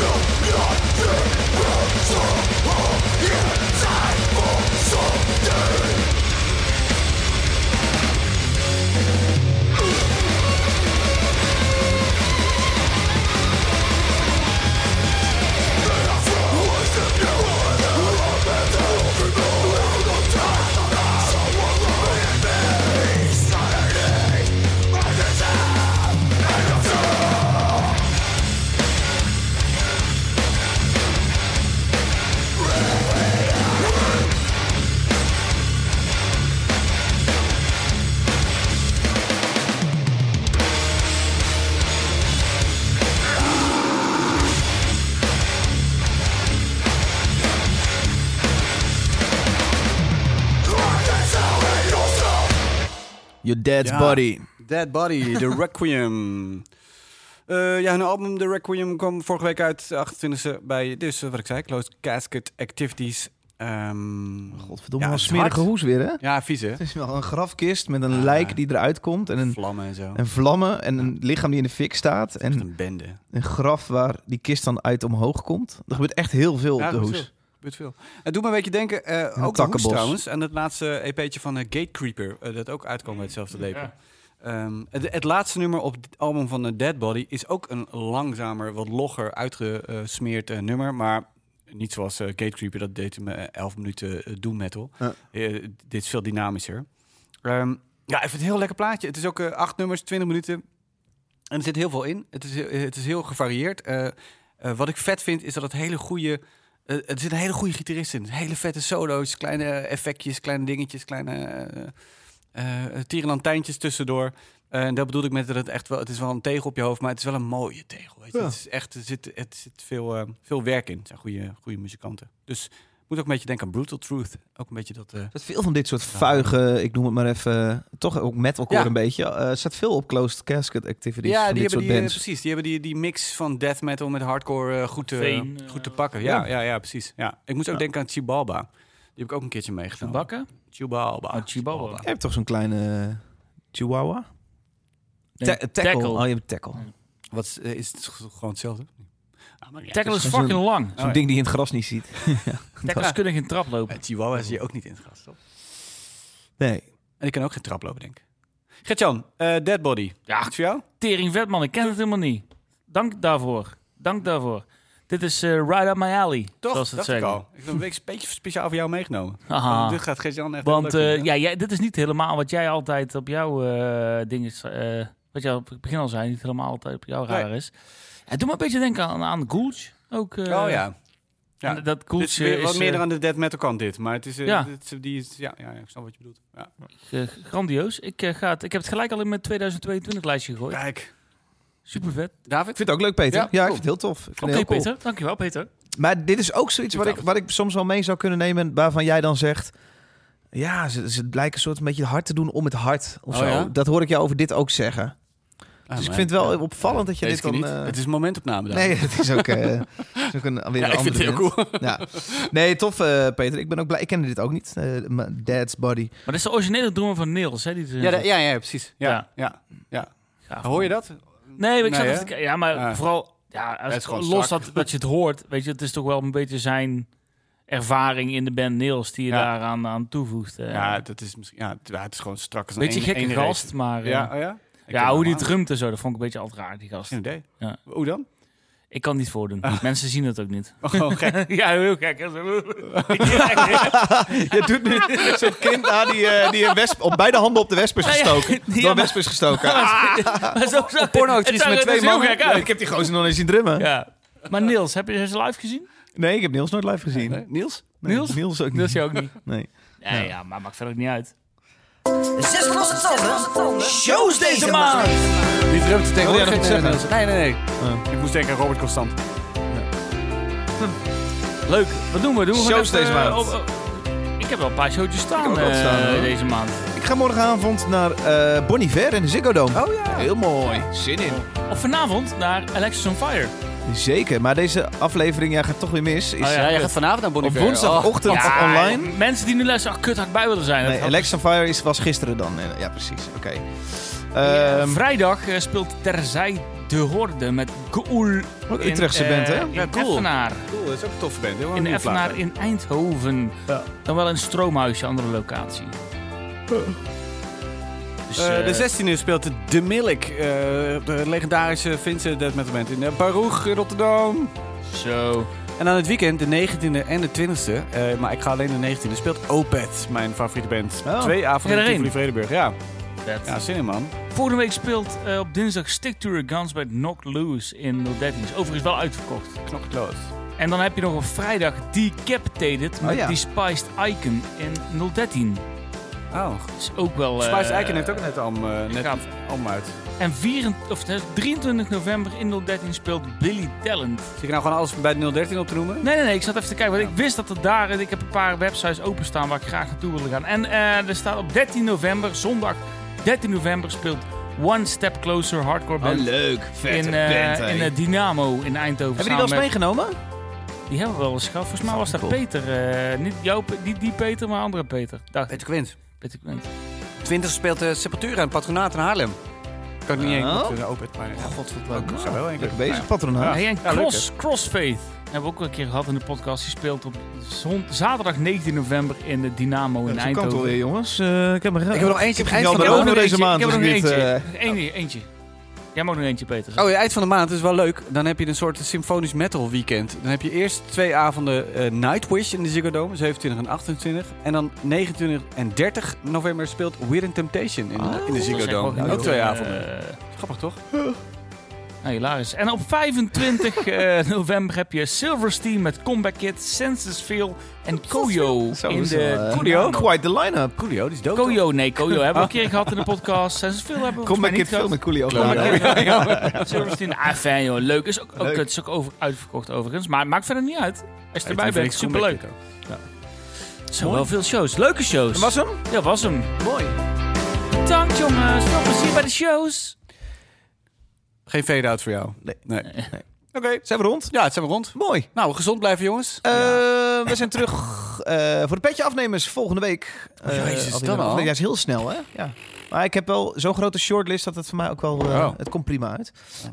[SPEAKER 3] your
[SPEAKER 2] Your Dad's
[SPEAKER 1] Ja.
[SPEAKER 2] Body.
[SPEAKER 1] Dead Body, The Requiem. Eh, ja, hun album The Requiem kwam vorige week uit, 28e, bij, dus eh, wat ik zei, Closed Casket Activities. Ehm,
[SPEAKER 2] Godverdomme,
[SPEAKER 1] Ja,
[SPEAKER 2] wel
[SPEAKER 1] het is
[SPEAKER 2] smerige
[SPEAKER 1] hard.
[SPEAKER 2] hoes weer, hè?
[SPEAKER 1] ja, vies hè?
[SPEAKER 2] Het is wel een grafkist met een
[SPEAKER 1] Ah.
[SPEAKER 2] lijk die eruit komt en een,
[SPEAKER 1] Vlammen en zo.
[SPEAKER 2] en vlammen en een lichaam die in de fik staat
[SPEAKER 1] Echt
[SPEAKER 2] en
[SPEAKER 1] een bende.
[SPEAKER 2] een graf waar die kist dan uit omhoog komt. Er gebeurt echt heel veel
[SPEAKER 1] Ja,
[SPEAKER 2] op de
[SPEAKER 1] gebeurt
[SPEAKER 2] hoes.
[SPEAKER 1] Gebeurt veel. Het doet me een beetje denken, eh,
[SPEAKER 2] een
[SPEAKER 1] ook de hoes
[SPEAKER 2] takkenbos.
[SPEAKER 1] trouwens, aan het laatste EP'tje van eh, Gatekeeper, eh, dat ook uitkwam bij hetzelfde label.
[SPEAKER 4] Ja.
[SPEAKER 1] Ehm, het, het laatste nummer op het album van The Dead Body is ook een langzamer, wat logger uitgesmeerd eh, nummer. Maar niet zoals eh, Gatekeeper, dat deed hem eh, 11 minuten eh, doom metal.
[SPEAKER 2] Ja.
[SPEAKER 1] Eh, dit is veel dynamischer. Ehm, ja, ik vind het een heel lekker plaatje. Het is ook eh, acht nummers, 20 minuten. En er zit heel veel in. Het is, heel- het is heel gevarieerd. Eh, eh, wat ik vet vind, is dat het hele goede... eh, er zit een hele goede gitarist in. Hele vette solo's, kleine effectjes, kleine dingetjes, kleine... eh, eh tierenlantijntjes tussendoor. Eh, en dat bedoel ik met dat het echt wel... Het is wel een tegel op je hoofd, maar het is wel een mooie tegel. Weet je?
[SPEAKER 2] Ja.
[SPEAKER 1] Het is echt... Er zit, het zit veel, eh, veel werk in. Het zijn goede, goede muzikanten. Dus moet ook een beetje denken aan Brutal Truth. Ook een beetje dat... eh,
[SPEAKER 2] Er zit veel van dit soort vuige, ik noem het maar even, toch ook metalcore
[SPEAKER 1] Ja.
[SPEAKER 2] een beetje. Eh, Er zat veel op closed casket activities
[SPEAKER 1] ja,
[SPEAKER 2] van
[SPEAKER 1] die hebben
[SPEAKER 2] dit soort
[SPEAKER 1] die, eh,
[SPEAKER 2] bands.
[SPEAKER 1] precies. Die hebben die, die mix van death metal met hardcore eh, goed, te,
[SPEAKER 4] Veen, eh,
[SPEAKER 1] goed te pakken. Ja, ja. Ja, precies. Ja. Ik moest ook denken aan Chibalba. Die heb ik ook een keertje meegenomen.
[SPEAKER 4] Bakken?
[SPEAKER 1] Chibalba.
[SPEAKER 4] Oh, Chibalba.
[SPEAKER 2] Je hebt toch zo'n kleine eh, chihuahua?
[SPEAKER 4] Nee,
[SPEAKER 2] Ta- tackle. Oh, je hebt tackle.
[SPEAKER 1] Wat is, eh, is het gewoon hetzelfde? Ah, maar ja,
[SPEAKER 4] Tackle
[SPEAKER 1] dus-
[SPEAKER 4] is fucking lang.
[SPEAKER 2] Zo'n
[SPEAKER 1] ja.
[SPEAKER 2] ding die je in het gras niet ziet.
[SPEAKER 4] Tackles kunnen geen trap
[SPEAKER 1] Bij
[SPEAKER 4] lopen.
[SPEAKER 1] Chihuahua zie je ook niet in het gras, toch?
[SPEAKER 2] Nee.
[SPEAKER 1] En ik kan ook geen trap lopen, denk ik. Gertjan, eh Dead Body.
[SPEAKER 4] Ja.
[SPEAKER 1] Iets voor jou?
[SPEAKER 4] Tering vet, man. Ik ken het helemaal niet. Dank daarvoor. Dank daarvoor. Dit is eh Ride Up My Alley,
[SPEAKER 1] Toch?
[SPEAKER 4] zoals ze het
[SPEAKER 1] dacht ik
[SPEAKER 4] zeggen.
[SPEAKER 1] al. Ik heb een beetje- beetje speciaal voor jou meegenomen.
[SPEAKER 4] Aha.
[SPEAKER 1] Want Dit gaat Gertjan echt
[SPEAKER 4] Want
[SPEAKER 1] heel leuk
[SPEAKER 4] eh,
[SPEAKER 1] vinden.
[SPEAKER 4] ja, jij, dit is niet helemaal wat jij altijd op jouw eh dingen... eh, wat jij op het begin al zei, niet helemaal altijd op jouw
[SPEAKER 1] Nee.
[SPEAKER 4] radar is. Het doet me een beetje denken aan, aan Gulch. Ook, eh,
[SPEAKER 1] Oh ja. Ja.
[SPEAKER 4] en Dat
[SPEAKER 1] Dit is
[SPEAKER 4] Gulch
[SPEAKER 1] weer
[SPEAKER 4] eh,
[SPEAKER 1] wat
[SPEAKER 4] is
[SPEAKER 1] meer
[SPEAKER 4] eh,
[SPEAKER 1] aan de dead metal kant dit, maar het is, eh,
[SPEAKER 4] Ja.
[SPEAKER 1] dit is- die is ja, ja, ik snap wat je bedoelt. Ja.
[SPEAKER 4] eh, grandioos. Ik, eh, ga het, ik heb het gelijk al in mijn 2022 lijstje gegooid.
[SPEAKER 1] Kijk,
[SPEAKER 4] Super vet.
[SPEAKER 1] David.
[SPEAKER 2] Ik vind het ook leuk, Peter.
[SPEAKER 1] Ja,
[SPEAKER 2] Ja,
[SPEAKER 1] cool.
[SPEAKER 2] ik vind het heel tof. Ik vind
[SPEAKER 4] Oké,
[SPEAKER 2] het heel cool.
[SPEAKER 4] Peter. Dankjewel, Peter.
[SPEAKER 2] Maar dit is ook zoiets wat ik, wat ik soms wel mee zou kunnen nemen. Waarvan jij dan zegt. Ja, ze, ze blijken een soort een beetje hard te doen om het hart. Of
[SPEAKER 1] Oh,
[SPEAKER 2] zo.
[SPEAKER 1] ja?
[SPEAKER 2] Dat hoor ik jou over dit ook zeggen.
[SPEAKER 1] Ah,
[SPEAKER 2] dus ik
[SPEAKER 1] maar-
[SPEAKER 2] vind het wel
[SPEAKER 1] ja.
[SPEAKER 2] opvallend dat je
[SPEAKER 1] Deze
[SPEAKER 2] dit
[SPEAKER 1] keer
[SPEAKER 2] dan.
[SPEAKER 1] niet.
[SPEAKER 2] eh,
[SPEAKER 1] Het is een momentopname dan.
[SPEAKER 2] nee, het is ook, eh, het is ook een, weer
[SPEAKER 1] ja,
[SPEAKER 2] een
[SPEAKER 1] ik
[SPEAKER 2] andere
[SPEAKER 1] vind het heel
[SPEAKER 2] band.
[SPEAKER 1] cool.
[SPEAKER 2] Ja. Nee, tof eh, Peter. Ik ben ook blij. Ik kende dit ook niet. Eh, mijn Dad's Body.
[SPEAKER 4] Maar dat is de originele drummer van Niels, hè? Die
[SPEAKER 1] Ja, da- ja, ja, precies. Ja, ja.
[SPEAKER 4] Ja.
[SPEAKER 1] Ja. Hoor je dat?
[SPEAKER 4] Nee, maar ik
[SPEAKER 1] Nee,
[SPEAKER 4] zat
[SPEAKER 1] hè?
[SPEAKER 4] even te kijken. Ja, maar
[SPEAKER 1] Ja.
[SPEAKER 4] vooral... Ja, als
[SPEAKER 1] Het is gewoon
[SPEAKER 4] los
[SPEAKER 1] strak.
[SPEAKER 4] dat, dat je het hoort, weet je, het is toch wel een beetje zijn ervaring in de band Niels die je
[SPEAKER 1] Ja.
[SPEAKER 4] daaraan aan toevoegt. eh.
[SPEAKER 1] Ja, dat is misschien ja, het, ja, het is gewoon strak als een
[SPEAKER 4] beetje
[SPEAKER 1] een-
[SPEAKER 4] gekke
[SPEAKER 1] ene
[SPEAKER 4] gast, maar...
[SPEAKER 1] reet.
[SPEAKER 4] eh,
[SPEAKER 1] Ja, oh ja. Ik
[SPEAKER 4] Ja, hoe die
[SPEAKER 1] het
[SPEAKER 4] drumt en zo, dat vond ik een beetje altijd raar, die gast.
[SPEAKER 1] Geen idee.
[SPEAKER 4] Ja.
[SPEAKER 1] Hoe dan?
[SPEAKER 4] Ik kan het niet voordoen. Mensen zien het ook niet.
[SPEAKER 1] Oh, gewoon gek.
[SPEAKER 4] ja, heel gek. hè?
[SPEAKER 1] Ah.
[SPEAKER 2] Je doet nu zo'n kind aan die, eh, die een wesp, op beide handen op de wesp is
[SPEAKER 4] Ja, ja.
[SPEAKER 2] gestoken.
[SPEAKER 4] Ja,
[SPEAKER 2] Door
[SPEAKER 4] maar-
[SPEAKER 2] een wesp is gestoken. Ah,
[SPEAKER 4] Maar zo zag- het zag er dus heel gek
[SPEAKER 2] Ja,
[SPEAKER 4] uit.
[SPEAKER 2] ik heb die gozer nog eens zien drummen.
[SPEAKER 4] Ja. Maar Niels, heb je ze live gezien?
[SPEAKER 2] Nee, ik heb Niels nooit live gezien.
[SPEAKER 1] Nee, Niels?
[SPEAKER 2] Nee,
[SPEAKER 4] Niels?
[SPEAKER 2] Niels ook niet.
[SPEAKER 4] Niels je ook niet.
[SPEAKER 2] Nee.
[SPEAKER 4] Ja, ja, maar maakt verder ook niet uit.
[SPEAKER 3] Zes losse tanden. Shows deze
[SPEAKER 4] maand.
[SPEAKER 1] Die drumt tegenwoordig.
[SPEAKER 2] Wat wil jij nog
[SPEAKER 1] eh,
[SPEAKER 2] zeggen?
[SPEAKER 1] Nee, nee, nee. Ik moest denken aan Robert Constant.
[SPEAKER 4] Leuk. Wat doen we? Doen we gewoon
[SPEAKER 2] Shows
[SPEAKER 4] even,
[SPEAKER 2] deze maand.
[SPEAKER 4] eh, op- op- ik heb wel een paar showtjes staan,
[SPEAKER 2] ook wat
[SPEAKER 4] eh,
[SPEAKER 2] staan, hoor.
[SPEAKER 4] deze maand.
[SPEAKER 2] Ik ga morgenavond naar eh Bonnie Ver in de Ziggo Dome.
[SPEAKER 1] Oh ja.
[SPEAKER 2] Heel mooi. Zin in.
[SPEAKER 4] Of vanavond naar Alexis on Fire.
[SPEAKER 2] Zeker. Maar deze aflevering ja, gaat toch weer mis. Is eh,
[SPEAKER 4] Oh
[SPEAKER 1] Ja, jij gaat vanavond naar Bonnie
[SPEAKER 2] Op
[SPEAKER 1] Iver.
[SPEAKER 2] woensdagochtend
[SPEAKER 4] Ja,
[SPEAKER 2] online.
[SPEAKER 4] Mensen die nu luisteren, ach, kut, had ik bij willen zijn. Dat
[SPEAKER 2] Nee,
[SPEAKER 4] had-
[SPEAKER 2] Alex on Fire is, was gisteren dan. Eh, Ja, precies. Oké.
[SPEAKER 4] Eh,
[SPEAKER 2] Ehm,
[SPEAKER 4] Vrijdag eh, speelt Terzij de Horde met Goel.
[SPEAKER 2] Wat een
[SPEAKER 4] in,
[SPEAKER 2] Utrechtse
[SPEAKER 4] eh,
[SPEAKER 2] band, hè?
[SPEAKER 4] In
[SPEAKER 1] Ja, cool.
[SPEAKER 4] Effenaar.
[SPEAKER 1] Oh, cool, dat is ook een toffe band. Heel
[SPEAKER 4] In Effenaar in Eindhoven.
[SPEAKER 2] Ja.
[SPEAKER 4] Dan wel in Stroomhuis, een andere locatie. Dus,
[SPEAKER 1] Eh,
[SPEAKER 4] eh,
[SPEAKER 1] de 16e speelt De Milk, eh, de legendarische Finse death metal band in eh, Baruch in Rotterdam.
[SPEAKER 4] Zo.
[SPEAKER 1] En aan het weekend, de 19e en de 20e, eh, maar ik ga alleen de 19e, speelt Opeth, mijn favoriete band.
[SPEAKER 2] Oh.
[SPEAKER 1] Twee avonden
[SPEAKER 4] Ga
[SPEAKER 1] in
[SPEAKER 4] je
[SPEAKER 1] Tivoli
[SPEAKER 4] erheen?
[SPEAKER 1] Vredenburg. Ja.
[SPEAKER 4] Vet.
[SPEAKER 1] ja, zin in man.
[SPEAKER 4] Vorige week speelt eh, op dinsdag Stick to Your Guns bij Knock Loose in 013. Is overigens wel uitverkocht.
[SPEAKER 1] Knok close.
[SPEAKER 4] En dan heb je nog op vrijdag Decapitated met
[SPEAKER 2] Oh, ja.
[SPEAKER 4] Despised Icon in 013.
[SPEAKER 1] Oh,
[SPEAKER 4] Is ook wel... eh,
[SPEAKER 1] Spice Eiken heeft ook net Alm, eh, net
[SPEAKER 4] gaaf.
[SPEAKER 1] Alm uit.
[SPEAKER 4] En 24, of, eh, 23 november in 013 speelt Billy Talent.
[SPEAKER 1] Zit ik nou gewoon alles bij de 013 op te noemen?
[SPEAKER 4] Nee, nee, nee. Ik zat even te kijken. Want ik wist dat er daar... Ik heb een paar websites openstaan waar ik graag naartoe wilde gaan. En eh, er staat op 13 november, zondag, 13 november speelt One Step Closer Hardcore Band.
[SPEAKER 2] leuk.
[SPEAKER 4] in eh, in eh, Dynamo in Eindhoven.
[SPEAKER 2] Hebben die wel eens
[SPEAKER 4] samen met-
[SPEAKER 2] meegenomen?
[SPEAKER 4] Die hebben we wel eens gehad. Volgens mij was dat
[SPEAKER 2] Cool.
[SPEAKER 4] Peter. eh, niet, jouw, Pe- niet die Peter, maar andere Peter. Dacht
[SPEAKER 2] Eh,
[SPEAKER 4] ik.
[SPEAKER 1] Peter Quint.
[SPEAKER 4] Peter Quint.
[SPEAKER 1] 20 speelt de Sepultura en Patronaat in Haarlem. Oh. Kan ik niet
[SPEAKER 2] Oh.
[SPEAKER 1] één keer open, maar god, wat leuk. zou wel één keer.
[SPEAKER 2] Leuk bezig, patronaat.
[SPEAKER 4] Hey, en
[SPEAKER 1] ja, leuk,
[SPEAKER 4] cross, Crossfaith hebben we ook een keer gehad in de podcast. Die speelt op zon- zaterdag 19 november in de Dynamo in
[SPEAKER 2] Zo kan het
[SPEAKER 4] Eindhoven.
[SPEAKER 2] alweer, jongens. Eh, ik heb er
[SPEAKER 1] Ik heb nog eentje op eind van de
[SPEAKER 2] Jan
[SPEAKER 1] maand.
[SPEAKER 2] Over
[SPEAKER 4] nog
[SPEAKER 2] deze
[SPEAKER 4] eentje.
[SPEAKER 2] maand
[SPEAKER 4] Ik heb
[SPEAKER 2] is
[SPEAKER 4] nog
[SPEAKER 2] dit,
[SPEAKER 4] eentje. Eén- eentje. Jij mag nog eentje, Peter.
[SPEAKER 1] Oh, ja, eind van de maand is wel leuk. Dan heb je een soort symfonisch metal weekend. Dan heb je eerst twee avonden eh, Nightwish in de Ziggo Dome, 27 en 28. En dan 29 en 30 november speelt Weird and Temptation in, de- in de Ziggo Dome. ook twee avonden. Grappig, toch?
[SPEAKER 4] Eh, Nou, hilarisch. En op 25 eh, november heb je Silversteam met Comeback Kid, Census Feel en Koyo.
[SPEAKER 2] Zo,
[SPEAKER 4] in
[SPEAKER 2] dat is wel,
[SPEAKER 4] de
[SPEAKER 2] eh,
[SPEAKER 4] Koyo.
[SPEAKER 2] Quite the line-up.
[SPEAKER 1] Coolio, die is dood. toch?
[SPEAKER 4] Koyo, nee, Koyo hebben we een keer gehad in de podcast. Census Feel hebben we
[SPEAKER 2] Kom
[SPEAKER 4] volgens
[SPEAKER 2] maar Kid
[SPEAKER 4] mij niet
[SPEAKER 2] Film
[SPEAKER 4] gehad.
[SPEAKER 2] en Coolio.
[SPEAKER 1] Coolio.
[SPEAKER 2] Ja.
[SPEAKER 4] Silversteam, ah, fijn joh. Leuk. Is ook, ook,
[SPEAKER 2] Leuk.
[SPEAKER 4] Het is ook over, uitverkocht overigens. Maar maakt verder niet uit. Als je erbij
[SPEAKER 1] Weet je,
[SPEAKER 4] bent,
[SPEAKER 1] vind ik
[SPEAKER 4] superleuk.
[SPEAKER 1] Comeback Kid
[SPEAKER 4] Zo wel veel shows. Leuke shows.
[SPEAKER 2] Dat was hem?
[SPEAKER 4] Ja, was hem.
[SPEAKER 1] Mooi.
[SPEAKER 4] Dank jongens. Veel plezier bij de shows.
[SPEAKER 1] ook. Geen fade-out voor jou.
[SPEAKER 2] Nee.
[SPEAKER 1] nee.
[SPEAKER 2] Oké. Zijn we rond?
[SPEAKER 1] Ja, het zijn we rond.
[SPEAKER 2] Mooi.
[SPEAKER 1] Nou, gezond blijven, jongens.
[SPEAKER 2] Eh, We zijn terug eh, voor de petje afnemers volgende week.
[SPEAKER 1] Oh, jezus,
[SPEAKER 2] Eh,
[SPEAKER 1] dat
[SPEAKER 2] aflevering-
[SPEAKER 1] al?
[SPEAKER 2] Nee, dat is heel snel, hè? Ja. Maar ik heb wel zo'n grote shortlist dat het voor mij ook wel... eh,
[SPEAKER 1] Oh.
[SPEAKER 2] Het komt prima uit.
[SPEAKER 1] Oh.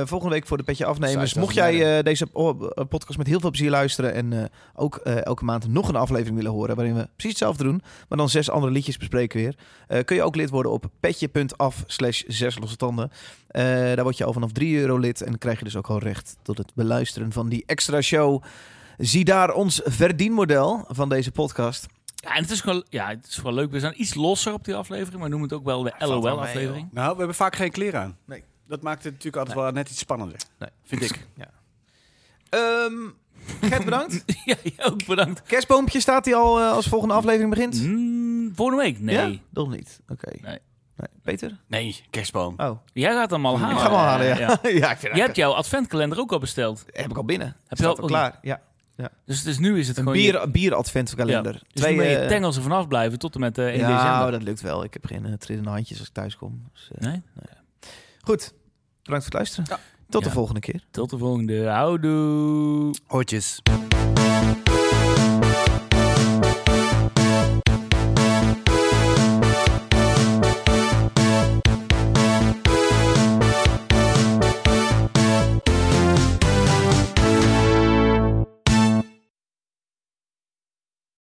[SPEAKER 2] Eh, volgende week voor de petje afnemers.
[SPEAKER 1] Size
[SPEAKER 2] Mocht
[SPEAKER 1] doesn't
[SPEAKER 2] jij eh, deze oh, eh, podcast met heel veel plezier luisteren... en eh, ook eh, elke maand nog een aflevering willen horen... waarin we precies hetzelfde doen... maar dan zes andere liedjes bespreken weer... eh, kun je ook lid worden op petje.af slash zes losse tanden. Eh, daar word je al vanaf 3 euro lid... en krijg je dus ook al recht tot het beluisteren van die extra show... Zie daar ons verdienmodel van deze podcast.
[SPEAKER 4] Ja, en het is gewoon, ja, het is gewoon leuk. We zijn iets losser op die aflevering, maar noem het ook wel de
[SPEAKER 2] wel mee,
[SPEAKER 4] LOL-aflevering.
[SPEAKER 1] Nou, we hebben vaak geen kleren aan.
[SPEAKER 2] Nee.
[SPEAKER 1] Dat maakt het natuurlijk altijd wel net iets spannender.
[SPEAKER 2] Nee.
[SPEAKER 1] Vind ik.
[SPEAKER 2] Ehm Gert, bedankt.
[SPEAKER 4] Ja, jij ook bedankt.
[SPEAKER 2] Kerstboompje staat hij al eh, als volgende aflevering begint?
[SPEAKER 4] Mm, volgende week? Nee.
[SPEAKER 2] Ja? Nog niet. Oké.
[SPEAKER 4] Nee.
[SPEAKER 2] Nee. Peter?
[SPEAKER 1] Nee, kerstboom.
[SPEAKER 2] Oh.
[SPEAKER 4] Jij gaat hem al halen.
[SPEAKER 2] ik ga hem al halen, ja. ja. ik vind
[SPEAKER 4] Je hebt jouw adventkalender ook al besteld.
[SPEAKER 2] Heb ik al binnen.
[SPEAKER 4] Heb
[SPEAKER 2] Staat
[SPEAKER 4] je al-
[SPEAKER 2] al klaar? Ja.
[SPEAKER 4] Dus, dus nu is het
[SPEAKER 2] Een
[SPEAKER 4] gewoon...
[SPEAKER 2] bier, bier adventkalender.
[SPEAKER 4] Ja. Dus nu ben je
[SPEAKER 2] eh,
[SPEAKER 4] tengels er vanaf blijven tot en met eh 1
[SPEAKER 2] ja,
[SPEAKER 4] december.
[SPEAKER 2] dat lukt wel. Ik heb geen eh, trillende handjes als ik thuis kom. Dus, eh,
[SPEAKER 4] Nee?
[SPEAKER 2] Goed. Bedankt voor het luisteren. Tot de
[SPEAKER 4] Ja.
[SPEAKER 2] volgende keer.
[SPEAKER 4] Tot de volgende. Houdoe.
[SPEAKER 1] Hoortjes.